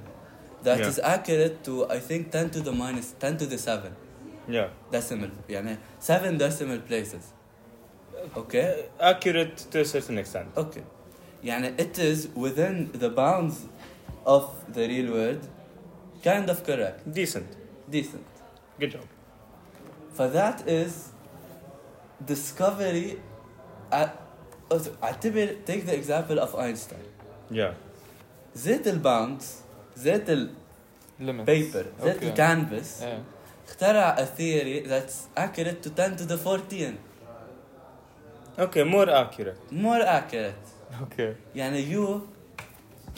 S2: that
S3: Yeah.
S2: is accurate to I think 10 to the minus 10 to the 7
S3: yeah
S2: decimal يعني 7 decimal places اوكي
S3: Uh, accurate to a certain extent
S2: اوكي يعني it is within the bounds of the real world kind of correct
S3: decent
S2: decent
S3: good job
S2: فذات از discovery at- اعتبر take the example of Einstein
S3: yeah
S2: زيت الباوندز زيت
S1: limits
S2: البيبر زيت
S1: Okay.
S2: الكانفاس
S1: إيه.
S2: اخترع a theory that's accurate to 10 to the 14
S3: okay more accurate
S2: more accurate
S1: اوكي
S2: يعني you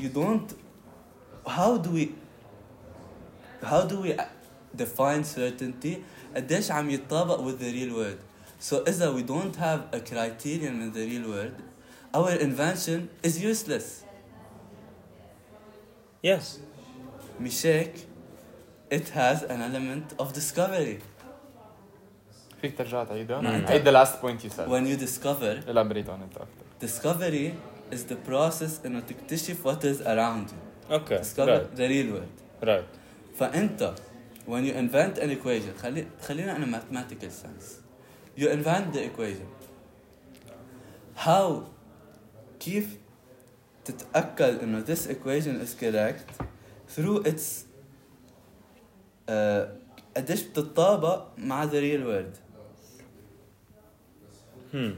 S2: you don't how do we how do we define certainty قديش عم يتطابق with the real world so إذا we don't have a criterion in the real world our invention is useless
S3: yes
S2: مش هيك it has an element of discovery
S1: فيك ترجع تعيدها
S3: Mm.
S2: ما أنت-
S1: عيد the last point you said
S2: when you discover
S1: elaborate on it after
S2: discovery is the process إنه تكتشف what is around you
S3: okay
S2: discover the real world
S3: right right
S2: فانت when you invent an equation خلي خلينا انا mathematical sense you invent the equation how كيف تتاكد انه this equation is correct through its آه، قديش بتتطابق مع the real world
S3: hmm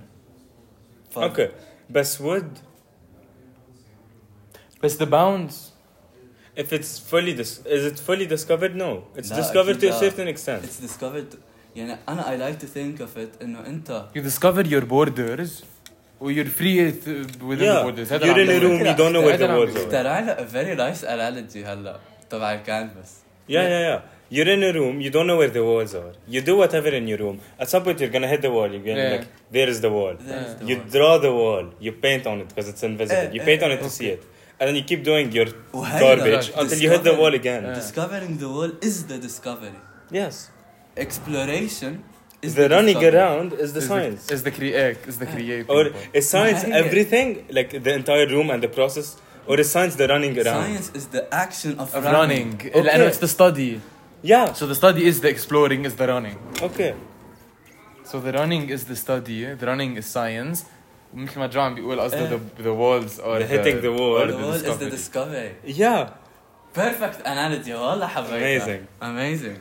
S2: ف-
S3: okay بس would
S1: بس the bounds
S3: If it's fully dis- is it fully discovered? No, it's
S2: لا،
S3: discovered to a
S2: أكيد لا.
S3: certain extent.
S2: it's discovered يعني انا I like to think of it انه انت
S1: you discover your borders or you're free th- within
S3: Yeah.
S1: the borders هذا
S3: You're
S1: اللي عم
S3: in a room,
S1: بقوله.
S3: you don't know where
S1: هذا
S3: the
S1: اللي عم
S3: walls
S1: بقوله.
S3: are.
S2: طلع a very nice analogy هلا تبع الكانفاس
S3: Yeah, yeah, yeah. You're in a room, you don't know where the walls are. You do whatever in your room. At some point, you're gonna hit the wall. You're gonna be
S1: Yeah.
S3: like, there is the wall.
S2: There is the
S3: you
S2: wall.
S3: draw the wall. You paint on it because it's invisible.
S2: Eh,
S3: you
S2: eh,
S3: paint on
S2: eh,
S3: it to see it, and then you keep doing your
S2: وهلا
S3: garbage
S2: discover-
S3: until you hit the wall again.
S1: Yeah.
S2: Discovering the world is the discovery.
S3: Yes.
S2: Exploration is
S3: the running
S2: discovery.
S3: around is the
S1: Is
S3: science.
S1: is the create is the creative
S3: or is science
S2: Yeah.
S3: everything like the entire room and the process, or is science the running around?
S2: Science is the action of,
S1: of running
S3: Okay.
S1: لأنه it's the study
S3: Yeah.
S1: so the study is the exploring is the running
S3: Okay.
S1: so the running is the study eh? the running is science مثل ما جو عم بيقول قصده
S2: إيه.
S1: the, the walls or
S3: Eh. The hitting the wall.
S1: or
S2: The world is the
S1: discovery.
S2: discovery.
S3: Yeah.
S2: Perfect analogy والله حبيتها.
S3: Amazing.
S2: Amazing.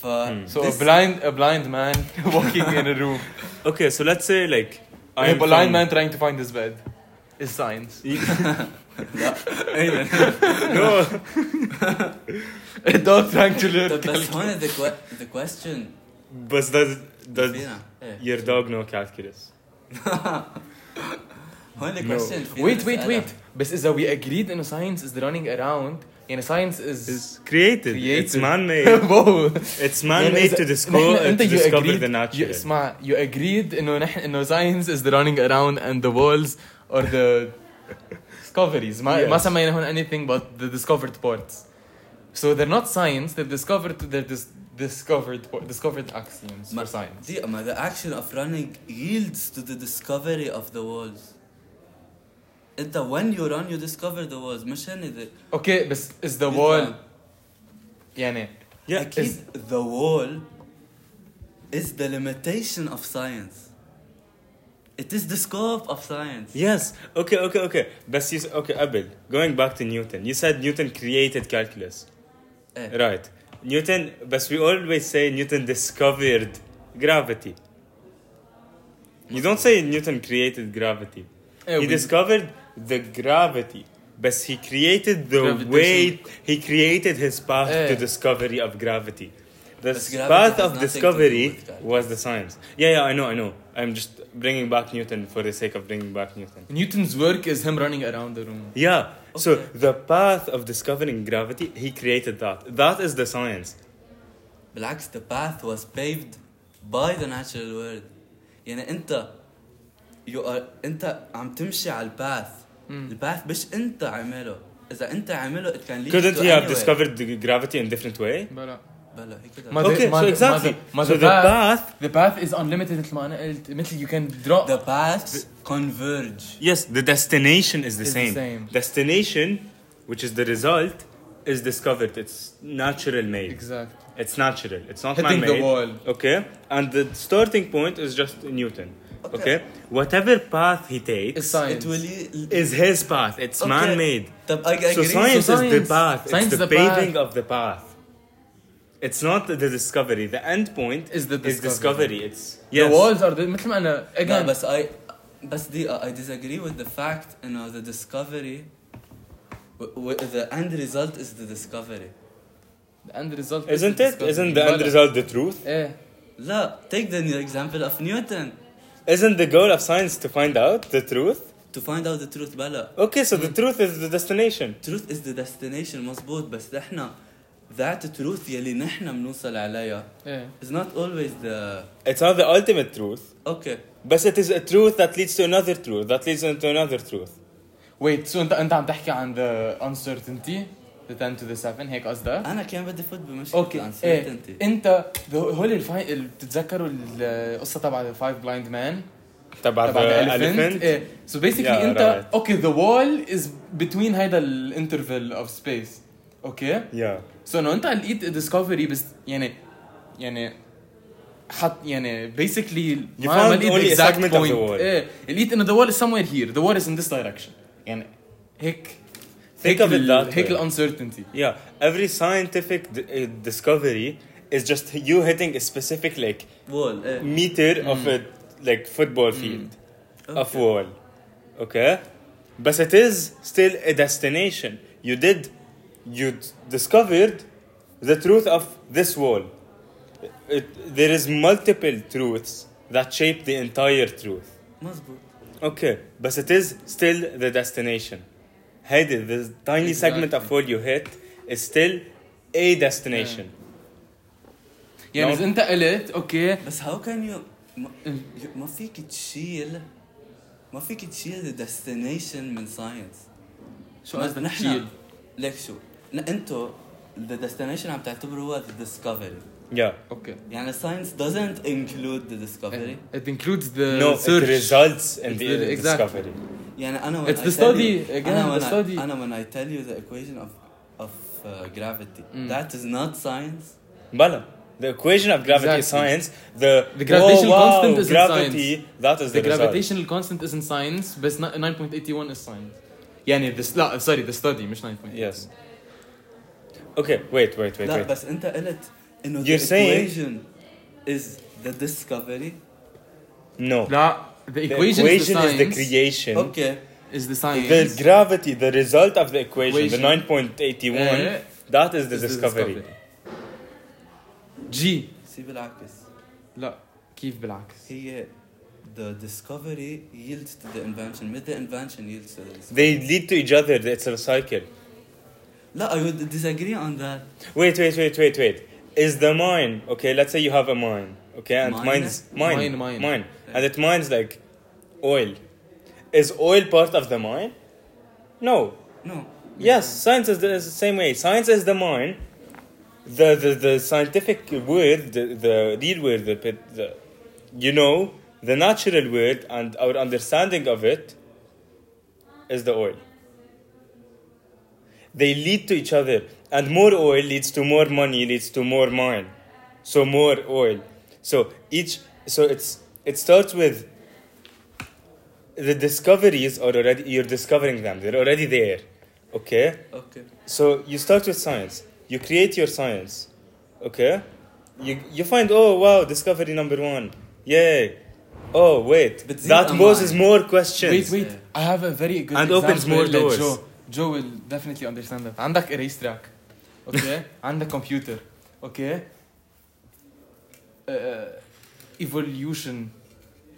S2: ف
S3: Hmm.
S1: so a
S2: this-
S1: blind a blind man walking in a room
S3: Okay, so let's say like
S1: a
S3: I'm
S1: blind
S3: from-
S1: man trying to find his bed is science
S2: لا أيمن.
S3: no,
S1: a dog trying to learn
S2: طب بس هون the, que- the question
S3: but does does
S2: فينا إيه.
S3: your dog know calculus?
S2: هون the
S3: No.
S2: question فينا
S1: wait wait
S2: نسألها.
S1: wait بس إذا we agreed إنه science is the running around يعني science is
S3: It's created. It's
S1: Created.
S3: man-made.
S1: wow
S3: it's
S1: يعني
S3: man-made
S1: إذا-
S3: to
S1: نحن-
S3: discover
S1: أنت
S3: to
S1: you
S3: discover
S1: agreed-
S3: the
S1: you-
S3: natural.
S1: اسمع you agreed إنه نحن إنه science is the running around and the walls or the discoveries ما ما
S3: Yes.
S1: سمينا هون anything but the discovered parts so they're not science they're discovered they're dis discovered discovered axioms
S2: ما-
S1: for science
S2: دي ما the action of running yields to the discovery of the walls انت when you run you discover the walls مش هن the
S1: اوكي بس is the
S2: Is
S1: wall
S2: that-
S1: يعني
S3: Yeah,
S2: أكيد
S3: is-
S2: the wall is the limitation of science. It is the scope of science.
S3: Yes. Okay, okay, okay. بس you, okay, قبل going back to Newton. You said Newton created calculus.
S2: إيه.
S3: Right. Newton, but we always say Newton discovered gravity. You don't say Newton created gravity.
S2: Eh,
S1: Yeah,
S3: he
S1: we-
S3: discovered the gravity, but he created the
S1: Gravitation.
S3: way he created his path to
S1: Yeah.
S3: discovery of gravity. The
S2: Eh. But gravity
S3: path
S2: has
S3: of
S2: nothing to do
S3: discovery
S2: with gravity.
S3: was the science. Yeah, yeah, I know, I know. I'm just bringing back Newton for the sake of bringing back Newton.
S1: Newton's work is him running around the room.
S3: Yeah. So
S2: Okay.
S3: the path of discovering gravity, he created that. That is the science.
S2: بالعكس the path was paved by the natural world يعني انت you are انت عم تمشي على الباث الباث مش انت عامله اذا انت عامله it can lead
S3: Couldn't
S2: to
S3: he have
S2: anywhere.
S3: discovered the gravity in different way?
S1: بلا
S2: بلا he could have.
S1: Mother-
S3: okay, so
S1: mother-
S3: exactly.
S1: mother- mother
S3: so the path,
S1: The path is unlimited مثل ما انا قلت مثل you can drop
S2: the paths converge
S3: yes, the destination is the
S1: Is the
S3: same.
S1: same.
S3: Destination, which is the result, is discovered. It's natural made.
S1: exact
S3: It's natural. It's not
S1: Hitting the
S3: man-made.
S1: wall.
S3: Okay, and the starting point is just Newton. Okay,
S2: Okay.
S3: whatever path he takes
S1: is science
S2: it will lead
S3: is his path. It's
S2: Okay.
S3: man-made.
S2: طب I, I
S3: so
S2: agree
S3: science,
S1: So
S3: is
S1: science-
S3: the path.
S1: science
S3: it's
S1: is
S3: the,
S1: the path.
S3: paving of the path. It's not the discovery. The end point
S1: Is the
S3: discovery.
S1: discovery.
S3: It's
S1: the walls are the- مثل ما انا
S2: لا
S1: again
S2: بس I بس دقيقة I disagree with the fact انه the discovery w- w- the end result is the discovery
S1: the end result is
S3: Isn't
S1: the
S3: it?
S1: discovery.
S3: Isn't the end
S1: بلا.
S3: result the truth?
S1: ايه
S2: لا take the example of Newton
S3: Isn't the goal of science to find out the truth?
S2: to find out the truth بلا
S3: Okay, so the
S1: Hmm.
S3: truth is the destination.
S2: truth is the destination مزبوط بس نحن that truth يلي نحن بنوصل عليها
S1: ايه
S2: is not always the
S3: It's not the ultimate truth,
S2: okay
S3: but it is a truth that leads to another truth, that leads into another truth.
S1: wait so انت انت عم تحكي عن the uncertainty the 10 to the 7 هيك قصدك؟
S2: انا كان بدي فوت بمشكله
S1: اوكي
S3: إيه.
S1: ايه
S2: uncertainty
S1: انت the- هول الفاي ال- بتتذكروا القصه تبع ذا فايف بلايند مان
S3: تبع
S1: تبع
S3: the
S1: ذا
S3: uh, elephant.
S1: elephant Eh. ايه سو بيسكلي
S3: Yeah,
S1: انت
S3: right.
S1: اوكي ذا وول از بتوين هيدا الانترفال اوف سبيس اوكي
S3: Yeah.
S1: سو انه انت لقيت ديسكفري بس يعني يعني حط يعني بيسكلي
S3: You found
S1: إيه
S3: only a segment of the wall.
S1: ايه لقيت انه ذا وول از somewhere here ذا وول از in this direction يعني هيك
S3: Think of it
S1: ال-
S3: that
S1: هيك
S3: way.
S1: الانسرتينتي
S3: Yeah. Every scientific d- uh, discovery is just you hitting a specific like
S2: wall
S3: Mm.
S2: ايه
S3: meter of a like football field of wall okay but it is still a destination you did you d- discovered the truth of this wall it, there is multiple truths that shape the entire truth
S2: مزبوط
S3: okay but it is still the destination Heidi, the tiny segment of
S1: Exactly.
S3: wall you hit is still a destination
S1: يعني
S3: No.
S1: اذا انت قلت اوكي
S2: بس how can you ما, ما فيك تشيل ما فيك تشيل the destination من science
S1: شو
S2: ما-
S1: قصدك
S2: نحن-
S1: تشيل؟
S2: ليك شو ن- انتو the destination عم تعتبره هو the discovery
S3: yeah
S1: اوكي
S2: يعني science doesn't include the discovery
S1: It includes the
S3: no
S1: Uh, search.
S3: it results in
S1: It's
S3: the,
S1: the- exactly.
S3: discovery
S2: يعني انا when
S1: It's
S2: I
S1: the
S2: tell
S1: study,
S2: you-
S1: again,
S2: أنا
S1: the
S2: when I-
S1: study.
S2: انا when I tell you the equation of of uh, gravity
S1: Mm.
S2: that is not science
S3: Bala. The equation of gravity is
S1: Exactly.
S3: science. The,
S1: The gravitational
S3: oh, wow,
S1: constant is in
S3: gravity. That is the,
S1: the
S3: result.
S1: gravitational constant isn't science بس ن- 9.81 is science. يعني the لا sorry the study مش 9.81.
S3: Yes. Okay. Wait. Wait. Wait.
S2: لا
S3: wait.
S2: بس انت قلت انه
S3: You're
S2: the
S3: saying-
S2: equation is the discovery
S3: No.
S1: لا the
S3: The
S1: equation,
S3: equation
S1: is the
S3: is the
S1: science.
S3: creation.
S2: اوكي
S1: is the science.
S3: The gravity, the result of the equation, the
S1: Equation.
S3: 9.81,
S1: Eh,
S3: that is the
S1: is the
S3: discovery.
S1: discovery. G
S2: سي بالعكس
S1: لا كيف بالعكس؟
S2: هي the discovery yields to the invention mid the invention yields to the discovery
S3: They lead to each other, it's a cycle.
S2: لا I would disagree on that
S3: Wait, wait, wait, wait, wait. Is the mine, okay, let's say you have a mine, okay, and
S2: Mine?
S3: mines, mine,
S1: Mine, mine.
S3: and it mines like oil. Is oil part of the mine? No,
S2: no
S3: Yes, science is the, is the same way. Science is the mind. The the, the scientific word, the, the real word, the, pit- the you know, the natural word and our understanding of it is the oil. they lead to each other and more oil leads to more money leads to more mine so more oil so each so it's it starts with the discoveries are already you're discovering them they're already there okay
S2: Okay.
S3: so you start with science you create your science okay you you find oh wow discovery number one yay oh wait
S2: But these
S3: that
S2: are
S3: poses
S2: mine.
S3: more questions
S1: Wait wait
S2: Yeah.
S1: I have a very good
S3: And opens
S1: example
S3: more
S1: that
S3: doors.
S1: Joe Joe will definitely understand that عندك erase track okay عندك computer okay uh, evolution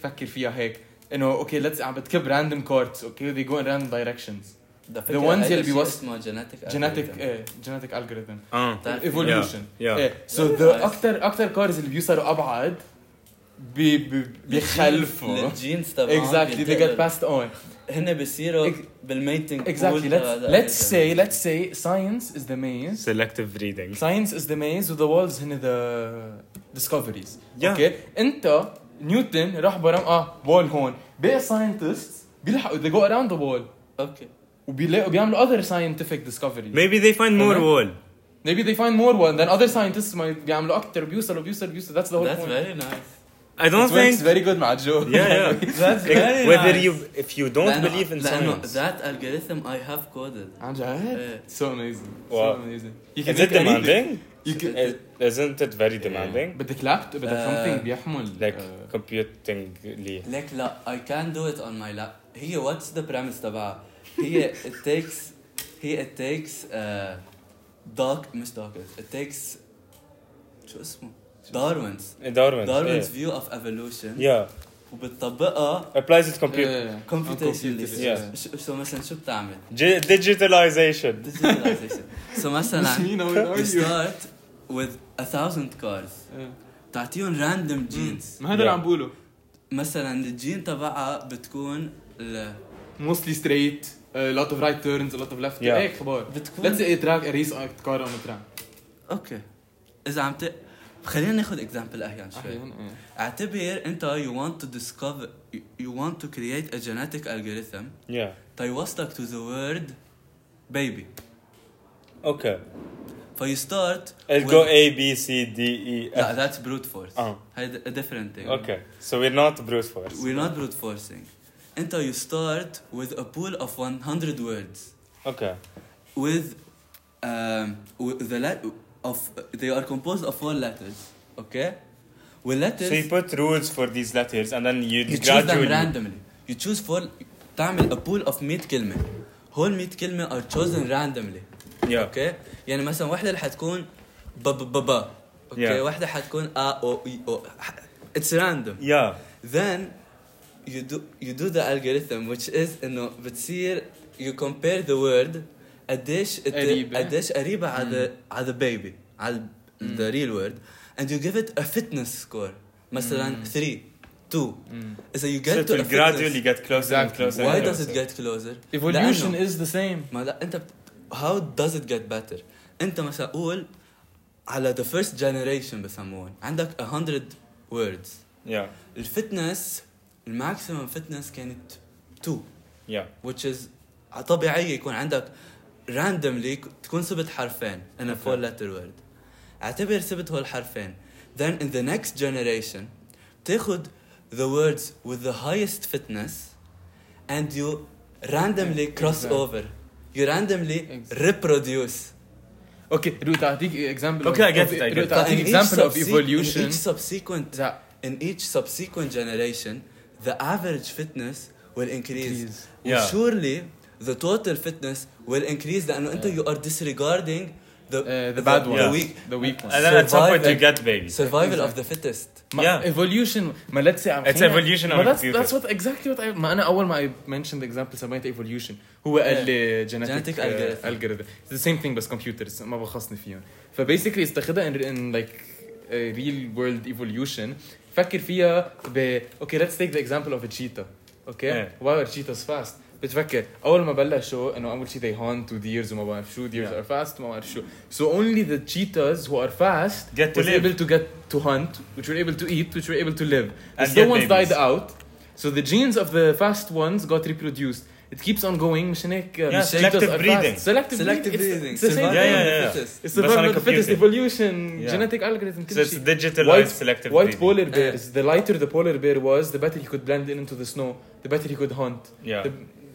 S1: فكر فيها هيك انه okay let's عم بتكب random cards okay they go in random directions
S2: The
S1: ones يلي بيوص-
S2: اسمه genetic
S1: genetic
S2: algorithm.
S1: uh, genetic algorithm
S3: Uh,
S2: That-
S1: evolution
S3: yeah, yeah.
S1: إيه. so the اكثر اكثر كارز اللي بيوصلوا ابعد بي بي بيخلفوا
S2: الجينز تبعهم
S1: exactly they get
S2: بينتقلوا.
S1: passed on
S2: هن بيصيروا
S1: Ex-
S2: بالميتنج
S1: exactly let's let's say let's say science is the maze
S3: selective breeding
S1: science is the maze with the walls هن the discoveries
S3: Yeah.
S1: okay انت نيوتن راح برام اه wall هون باقي scientists بيلحقوا they go around the wall
S2: اوكي
S1: وبيلاقوا بيعملوا other scientific discoveries
S3: maybe they find more
S1: Okay.
S3: wall
S1: maybe they find more one then other scientists might بيعملوا اكثر بيوصلوا بيوصلوا بيوصلوا that's the whole
S2: That's
S1: point
S2: very nice.
S3: i don't
S1: It works
S3: think
S1: very good مع جو
S3: yeah yeah
S2: That's
S3: Like,
S2: very
S3: whether
S2: nice.
S3: you if you don't
S2: لأنه-
S3: believe in
S2: لأنه
S3: science
S2: That algorithm I have coded.
S1: عن جد؟
S2: إيه.
S1: So amazing.
S3: Wow.
S1: So amazing. You
S3: is it
S1: make anything.
S3: demanding
S1: You can-
S3: Is- isn't it very demanding
S1: بدك لابتوب بدك
S2: آه.
S1: something بيحمل
S3: like
S1: آه،
S2: Uh,
S3: computingly
S2: ليك لا I can do it on my lap. هي what's the premise تبعها؟ هي it takes هي it takes uh, doc مش doctors it takes شو اسمه؟ Darwin's
S3: Darwin
S2: Darwin's
S3: yeah.
S2: view of evolution
S3: yeah
S2: وبتطبقها
S3: applies it computer
S1: آه، on
S2: computationally.
S1: computers.
S3: Yeah.
S2: شو- شو مثلا شو بتعمل؟
S3: G- digitalization
S2: Digitalization. So مثلا
S1: Yasmina, where are
S2: you
S1: you?
S2: start with a thousand cars
S1: آه.
S2: تعطيهم random genes
S1: ما هذا اللي
S3: Yeah.
S1: عم بقوله
S2: مثلا الجين تبعها بتكون ال...
S1: mostly straight a lot of right turns a lot of left turns
S3: Yeah.
S1: هيك خبار
S2: بتكون
S1: let's say a track a race act car on a track
S2: اوكي اذا عم ت... خلينا ناخذ اكزامبل احيان شوي
S1: أحياناً، إيه.
S2: اعتبر انت you want to discover you- you want to create a genetic algorithm
S3: yeah
S2: تيوصلك to the word baby
S3: okay
S2: فيو ستارت
S3: I'll go A B C D E F.
S2: لا that's brute force
S3: آه.
S2: هيدا a different thing
S3: okay so we're not brute force
S2: we're not brute forcing انت you start with a pool of 100 words
S3: okay
S2: with um, with the let of they are composed of four letters okay والletters
S3: so you put rules for these letters and then you,
S2: you choose them
S3: gradually
S2: randomly you choose four تعمل a pool of 100 كلمة هول 100 كلمة are chosen randomly
S3: yeah
S2: اوكي يعني مثلا وحدة اللي حتكون ب ب ب ب اوكي
S3: Yeah.
S2: وحدة حتكون ا او اي او it's random
S3: yeah
S2: then you do you do the algorithm which is انه بتصير you compare the word قديش it-
S1: قريبة.
S2: قديش قريبة على the على the baby على ال- the real word and you give it a fitness score مثلا 3 2 اذا you
S3: so
S2: get
S3: it
S2: to a
S3: will gradually
S2: fitness
S3: get closer and
S1: Exactly.
S3: closer
S2: why
S3: and
S2: does it
S3: closer.
S2: get closer؟
S1: evolution
S2: لأنه-
S1: is the same
S2: ما لا انت بت... how does it get better انت مثلا قول على the first generation بسموهم عندك 100 words
S3: yeah
S2: الفتنس الماكسيمم فتنس كانت 2
S3: yeah
S2: which is طبيعي يكون عندك راندملي تكون سبت حرفين in a four letter word اعتبر سبت هول حرفين then in the next generation بتاخد the words with the highest fitness and you randomly cross
S1: Exactly.
S2: over you randomly
S1: Exactly.
S2: reproduce
S1: okay رو تعطيك example
S3: Okay,
S1: of-
S3: I get
S1: of-
S3: it, I
S1: رو
S3: get it.
S1: تعطيك
S2: In each
S1: example of
S2: subse- in each
S1: evolution
S2: subsequent
S1: that
S2: in each subsequent generation, the average fitness will increase.
S1: Increase.
S3: Yeah.
S2: Surely, the total fitness will increase لأنه أنت you are disregarding the,
S1: uh, the bad one
S3: Yeah.
S2: weak
S1: the weak one
S3: and then at some point you
S2: Surviving.
S3: get babies
S2: survival of the fittest.
S1: ما
S3: Yeah.
S1: evolution ما let's say I'm
S3: It's evolution
S1: ما
S3: on
S1: that's,
S3: computer.
S1: that's what exactly what I ما انا اول ما I mentioned the example سميت evolution هو قال لي genetic,
S2: Genetic
S1: uh,
S2: algorithm.
S1: algorithm it's the same thing بس computers ما بخصني فيهم فبيسكلي استخدها in, in like a real world evolution فكر فيها ب okay let's take the example of a cheetah okay
S3: Yeah.
S1: wow a cheetah is fast بتفكر اول ما بلشوا انه اول شيء they hunt two deers وما بعرف شو deers
S3: Yeah.
S1: are fast وما بعرف شو so only the cheetahs who are fast
S3: Get to
S1: was
S3: live.
S1: able to get to hunt, which were able to eat, which were able to live. The
S3: And
S1: slow
S3: get
S1: ones
S3: babies.
S1: died out, so the genes of the fast ones got reproduced. it keeps on going uh, مشان هيك
S3: Yeah,
S1: مش هيك
S3: selective
S1: just
S3: breeding.
S1: advanced. selective
S2: Selective
S1: breeding
S2: breeding.
S1: it's the same
S2: Survival
S3: Yeah,
S1: thing.
S3: yeah,
S2: of
S3: yeah.
S2: the
S1: It's
S2: fittest.
S3: بس
S1: survival
S3: على
S1: of the fittest
S3: computer.
S1: evolution
S3: Yeah.
S1: genetic algorithm
S3: So
S1: كل
S3: it's
S1: شيء
S3: digitalized
S1: white,
S3: selective
S1: white
S3: breeding.
S1: polar
S2: Uh.
S1: bears the lighter the polar bear was the better he could blend in into the snow the better he could hunt
S3: Yeah.
S1: the,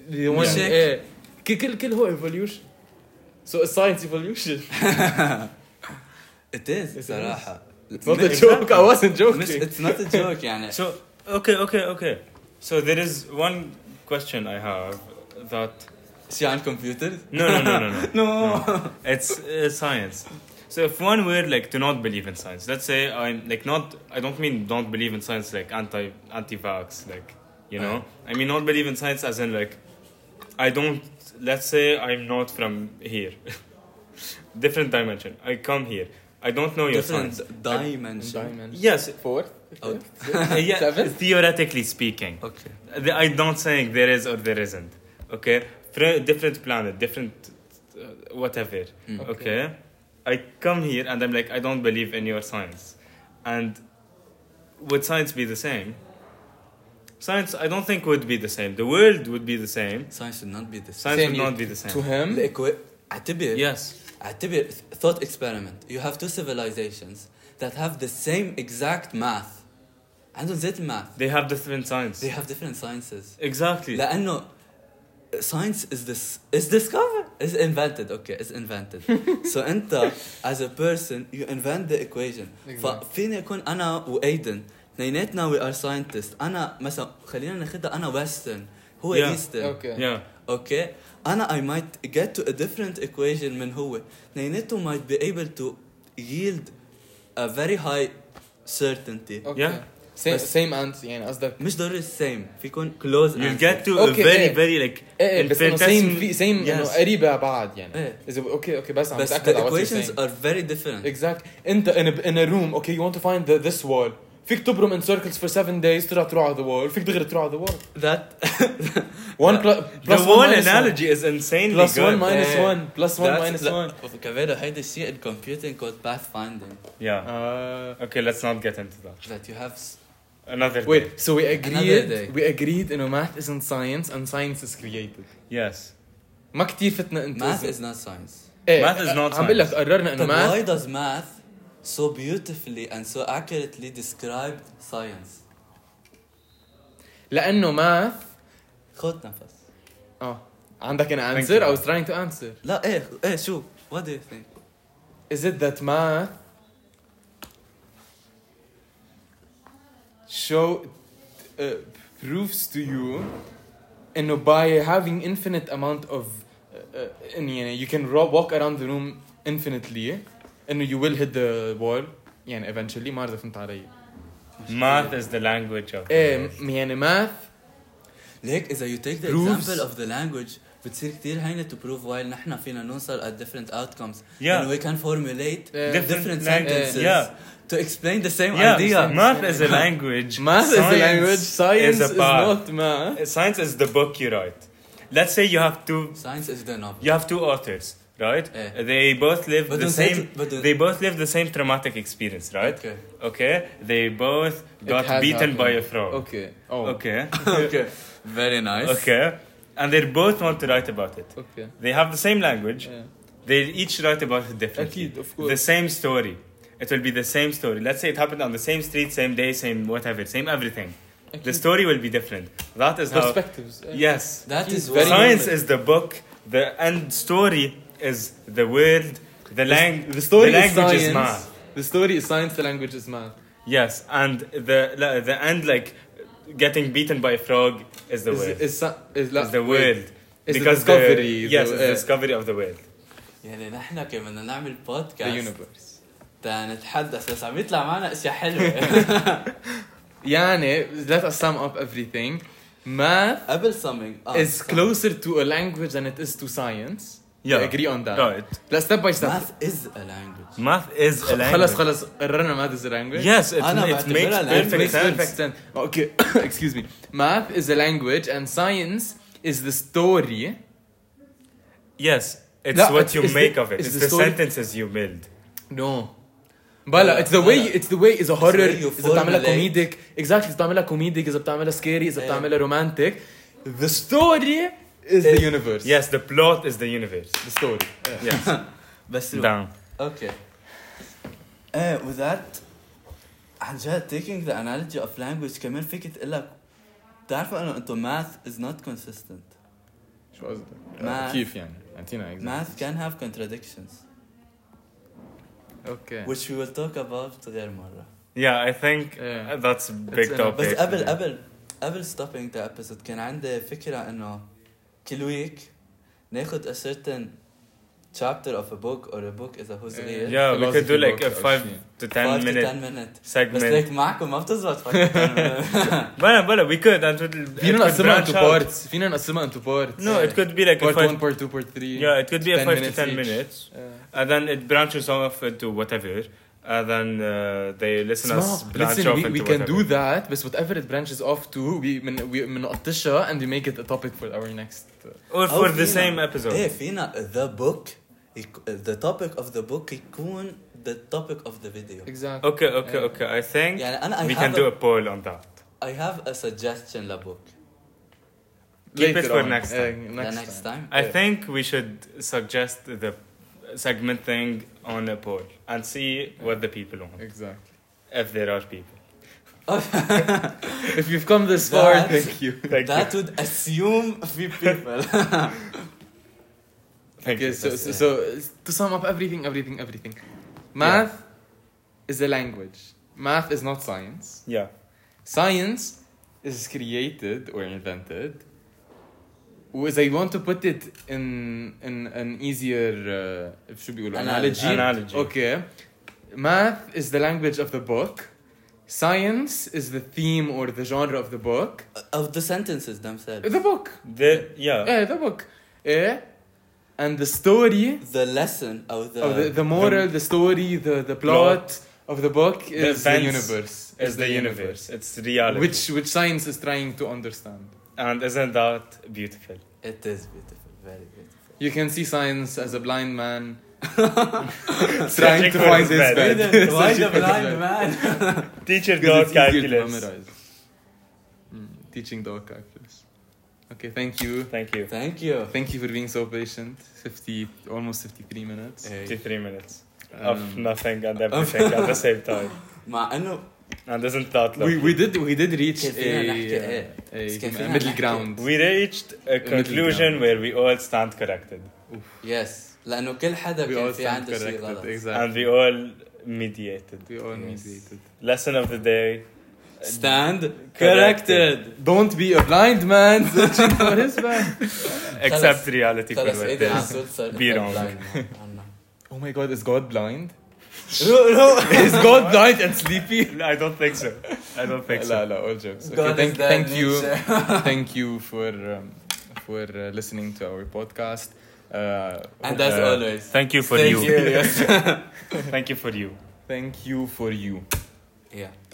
S1: the one uh,
S2: هيك؟
S1: ايه ك- كل كل هو evolution so it's science evolution
S2: It is,
S1: It is.
S2: صراحة.
S1: it's not a joke I wasn't
S2: مش
S1: joking
S2: it's not a joke يعني.
S3: So okay, okay, okay. So there is one question I have that
S2: شي عن كمبيوتر؟
S3: no, no, no, no, no.
S2: No.
S3: it's uh, science. So if one were like to not believe in science, let's say I'm like not, I don't mean don't believe in science like anti anti-vax, like you know.
S2: Uh-huh.
S3: I mean not believe in science as in like I don't. Let's say I'm not from here, different dimension. I come here. I don't know your
S2: Different
S3: science.
S2: dimension.
S1: diamond
S3: Yes, uh,
S1: four
S2: Okay.
S3: yeah,
S1: Seven?
S3: theoretically speaking.
S2: Okay.
S3: The- I don't think there is or there isn't. Okay, Fr- different planet, different uh, whatever.
S2: Mm.
S3: Okay. I come here and I'm like, I don't believe in your science, and would science be the same? Science, I don't think would be the same. The world would be the same.
S2: Science should not be this.
S3: Science
S1: Same
S3: would
S1: you-
S3: not be the
S1: to
S3: same.
S1: him
S2: الإكوا- اعتبر
S3: Yes.
S2: اعتبر thought experiment you have two civilizations that have the same exact math عندهم زيت math
S3: They have different science.
S2: they have different sciences
S3: Exactly.
S2: لأنه science is this is discovered is invented okay is invented so أنت as a person you invent the equation ففيني أكون أنا وأيدن اثنيناتنا we are scientists أنا مثلا خلينا ناخدها أنا western هو
S3: Yeah.
S2: eastern
S1: okay
S3: Yeah.
S2: اوكي انا I might get to a different equation من هو اثنيناتهم might be able to yield a very high certainty okay.
S1: okay
S3: Yeah.
S1: same
S2: بس-
S1: same answer يعني قصدك
S2: مش ضروري same فيكون close
S3: You'll
S2: answer.
S3: get to
S1: Okay,
S3: a very,
S1: eh.
S3: very like.
S1: ايه إيه، بس انه سيم
S3: infinitesimal-
S1: في سيم انه
S3: Yes.
S1: قريبه بعض يعني
S2: إيه.
S1: اذا اوكي اوكي بس عم
S2: بس
S1: بتاكد
S2: the
S1: على what you're
S2: equations
S1: saying
S2: are very different
S1: exact انت in a, in a room okay you want to find the, this wall فيك تبرم in circles for seven days تروح تروح على the wall فيك دغري تروح على the wall
S2: that
S1: one plus
S3: The
S1: plus one
S3: wall
S1: minus one.
S3: analogy is insanely
S1: plus
S3: good.
S1: one minus
S2: إيه.
S1: one plus one
S2: that's-
S1: minus
S2: لا،
S1: one
S2: كمان هيدا الشيء in computing called pathfinding
S3: Yeah.
S1: آه.
S3: Ah, Okay, let's not get into that.
S2: that you have s-
S3: Another day.
S1: wait so we
S2: Another day.
S1: agreed we agreed انه math isn't science and science is created
S3: Yes.
S1: ما كتير فتنا انت
S2: math is not science
S1: إيه.
S3: math is not
S1: عم بقول لك
S3: science.
S1: قررنا
S2: but
S1: انه math
S2: why does math so beautifully and so accurately describe science
S1: لانه math
S2: خد نفس
S1: اه عندك an
S3: Thank
S1: answer
S3: you.
S1: I was trying to answer
S2: لا ايه ايه
S1: eh,
S2: شو what do you think
S1: Is it that math show uh, proves to you and by having infinite amount of uh, uh, and, you, know, you can ro- walk around the room infinitely and you will hit the wall يعني eventually ما عرفت فهمت علي
S3: Math is the language of.
S1: ايه م- يعني math
S2: ليك اذا you take the
S1: Proofs.
S2: example of the language بتصير كتير هينة to prove why نحن فينا نوصل at different outcomes
S3: Yeah.
S2: and we can formulate
S1: Eh.
S2: different,
S3: Different language.
S2: sentences
S3: Yeah.
S2: to explain the same
S3: Yeah,
S2: idea
S3: math is a language.
S1: math is a
S3: Science
S1: language science is,
S3: a path.
S1: not math
S3: Science is the book you write. Let's say you have two.
S2: science is the novel
S3: You have two authors, right?
S2: Eh.
S3: They both live
S2: But
S3: the
S2: don't say
S3: same.
S2: it- but don't-
S3: They both live the same traumatic experience, right?
S2: Okay.
S3: Okay. They both
S1: It
S3: got
S1: has
S3: beaten by a
S1: happened.
S3: frog.
S1: okay oh okay
S3: Okay.
S2: okay very nice
S3: okay. And they both want to write about it.
S1: okay
S3: They have the same language.
S1: yeah.
S3: They each write about it differently.
S1: أكيد, of course.
S3: The same story. It will be the same story. Let's say it happened on the same street, same day, same whatever, same everything. The
S1: أكيد.
S3: story will be different. That is how.
S1: perspectives yeah.
S3: Yes.
S2: that is
S1: Very
S3: Science
S2: novel.
S3: is the book. The end story is the world. The, lang-
S1: the story
S3: the
S1: is
S3: language
S1: science
S3: is math.
S1: the story is science the language is math
S3: Yes, and the la- the end like getting beaten by a frog is the
S1: is,
S3: world.
S1: is, is, is,
S3: Is the
S1: wait.
S3: world.
S1: Is the
S3: because
S1: discovery, the-
S3: yes, it's the
S1: eh.
S3: discovery of the world.
S2: يعني نحن كمان بدنا نعمل
S1: The
S2: بودكاست
S1: universe.
S2: نتحدث بس عم يطلع معنا اشياء حلوه
S1: يعني let us sum up everything. Math
S2: قبل summing
S3: Ah,
S2: آه،
S1: is
S2: sorry.
S1: closer to a language than it is to science.
S3: Yeah. Oh.
S1: We agree on that.
S3: Right.
S1: Let's step by step.
S2: math is a language
S3: Math is a language.
S1: خلص خلص قررنا math is a language.
S3: Yes, it,
S2: أنا
S3: it
S2: بعتبرها
S3: makes
S2: language.
S3: perfect
S1: It makes
S3: sense.
S1: perfect sense. Okay, excuse me. Math is a language and science is the story.
S3: Yes, it's
S1: لا,
S3: what
S1: it's-
S3: you
S1: it's the-
S3: make of it.
S1: it's
S3: It's,
S1: the
S3: the,
S1: story.
S3: sentences you build.
S1: No.
S3: Uh,
S1: بلا it's the way
S2: بلا.
S1: it's the way اذا
S2: the way
S1: horror
S2: you
S1: اذا بتعملها
S2: formulate.
S1: كوميديك exactly اذا بتعملها كوميديك اذا بتعملها سكيري اذا
S2: إيه.
S1: بتعملها رومانتيك the story is the universe.
S3: Yes, the plot is the universe, the story. Yes,
S2: بس روح.
S3: down.
S2: Okay. ايه وذات عن جد taking the analogy of language كمان فيك تقلك بتعرفوا انه انتم math is not consistent.
S1: شو قصدك؟
S2: Math.
S1: كيف يعني؟ اعطينا example.
S2: Math can have contradictions
S1: اوكي
S2: which we will talk about غير مرة.
S3: Yeah, I think
S1: Yeah.
S3: uh, that's a big
S1: enough.
S3: topic.
S2: بس
S1: Okay.
S2: قبل قبل قبل stopping the episode كان عندي فكرة انه كل ويك ناخد a certain chapter of a book or a book إذا هو صغير
S3: yeah, we could do
S1: Philosophy
S3: like a
S1: book or
S3: Oh, five
S1: shit.
S3: to ten
S2: five to
S3: minute
S2: 10 minute بس
S3: segment.
S2: ليك معكم ما بتزبط five to 10 minute.
S3: But but we could. And it will- it
S1: فينا
S3: could
S1: نقسمها
S3: branch
S1: into
S3: out.
S1: parts فينا نقسمها into parts
S3: No, it could be like a
S1: part 1
S3: five.
S1: part 2 part 3
S3: Yeah, it could be a
S1: 10
S3: five to
S1: minutes
S3: ten
S1: each.
S3: minutes, and then it branches off into whatever. And then uh, they listen us
S1: اسمع
S3: branch
S1: listen
S3: off
S1: we,
S3: into
S1: we can
S3: whatever.
S1: do that بس whatever it branches off to we من we بنقطشها and we make it a topic for our next uh,
S3: Or
S2: أو
S3: for the
S2: فينا-
S3: same episode.
S2: ايه فينا the book يك- the topic of the book يكون the topic of the video
S1: exactly
S3: Okay, okay,
S1: Yeah.
S3: okay. I think
S2: يعني انا I
S3: we
S2: have
S3: can do
S2: a,
S3: a poll on that.
S2: I have a suggestion لبوك
S3: Keep
S1: Later
S3: it for
S1: on.
S3: next
S1: Yeah,
S3: time.
S2: the
S1: next,
S2: next
S1: time.
S2: time
S3: I
S1: Yeah.
S3: think we should suggest the segment thing on a poll and see what the people want,
S1: exactly
S3: if there are people.
S1: if you've come this far
S2: That-
S1: thank you
S3: Thank
S2: that would assume في people
S3: Thank
S1: okay
S3: you.
S1: so, so
S2: yeah.
S1: so to sum up everything everything everything math is a language math is not science
S3: Yeah.
S1: Science is created or invented. Was I want to put it in in an easier uh, شو بيقولوا
S2: Analogy.
S1: analogy.
S3: Analogy.
S1: Okay. Math is the language of the book. Science is the theme or the genre of the book.
S2: of the sentences themselves
S1: The book.
S3: The, yeah.
S1: Yeah, the book. Yeah. And the story
S2: the lesson or the,
S1: of Oh, the, the moral, the story, the, the plot, of the book is the,
S3: events
S1: universe.
S3: It's the universe. It's reality.
S1: Which which science is trying to understand.
S3: and isn't that beautiful?
S2: it is beautiful very beautiful
S1: You can see science as a blind man
S3: Searching
S1: trying to
S3: for
S1: find
S3: his
S1: his
S3: bed.
S1: bed.
S2: why
S1: Searching
S2: the
S1: for his
S2: blind
S1: bed.
S2: man
S3: Teacher
S1: Because
S3: dog
S1: it's easier to
S3: calculus.
S1: memorize. Mm, teaching dog calculus. Okay, thank you.
S3: Thank you.
S2: thank you
S1: Thank you for being so patient. 50, almost 53 minutes.
S2: إيه.
S3: 53 minutes of
S1: Um,
S3: nothing and everything at the same time.
S2: مع انه
S3: And isn't that
S1: we,
S3: lovely?
S1: we did we did reach
S2: كان فينا نحكي
S1: a,
S2: إيه. بس كان
S1: a,
S2: فينا
S1: middle
S2: نحكي.
S1: ground.
S3: We reached a
S1: middle
S3: conclusion
S1: ground.
S3: where we all stand corrected.
S2: yes لانه كل حدا
S1: We
S2: كان
S1: all
S2: في
S1: stand
S2: عنده شيء
S1: corrected.
S2: غلط
S3: And
S1: Exactly.
S3: we all mediated.
S1: We all
S2: Yes.
S1: mediated.
S3: Lesson of the day.
S2: stand
S3: Corrected.
S2: corrected
S1: Don't be a blind man searching for his bed.
S3: Accept reality for
S2: خلص
S3: what it
S2: ايدي
S3: is.
S2: عسول صار
S3: Be wrong.
S1: Oh my god, is God blind?
S2: رو رو
S1: is God blind and sleepy?
S3: I don't think so. I don't think
S1: لا
S3: so.
S1: لا all jokes. Okay,
S2: God
S1: thank,
S2: is dead,
S1: thank you,
S2: nature.
S1: thank you for um, for uh, listening to our podcast. Uh,
S2: And as
S3: Uh,
S2: always
S3: Thank you for
S2: stay
S3: you.
S2: curious.
S3: Thank you for you.
S1: thank you for you.
S2: yeah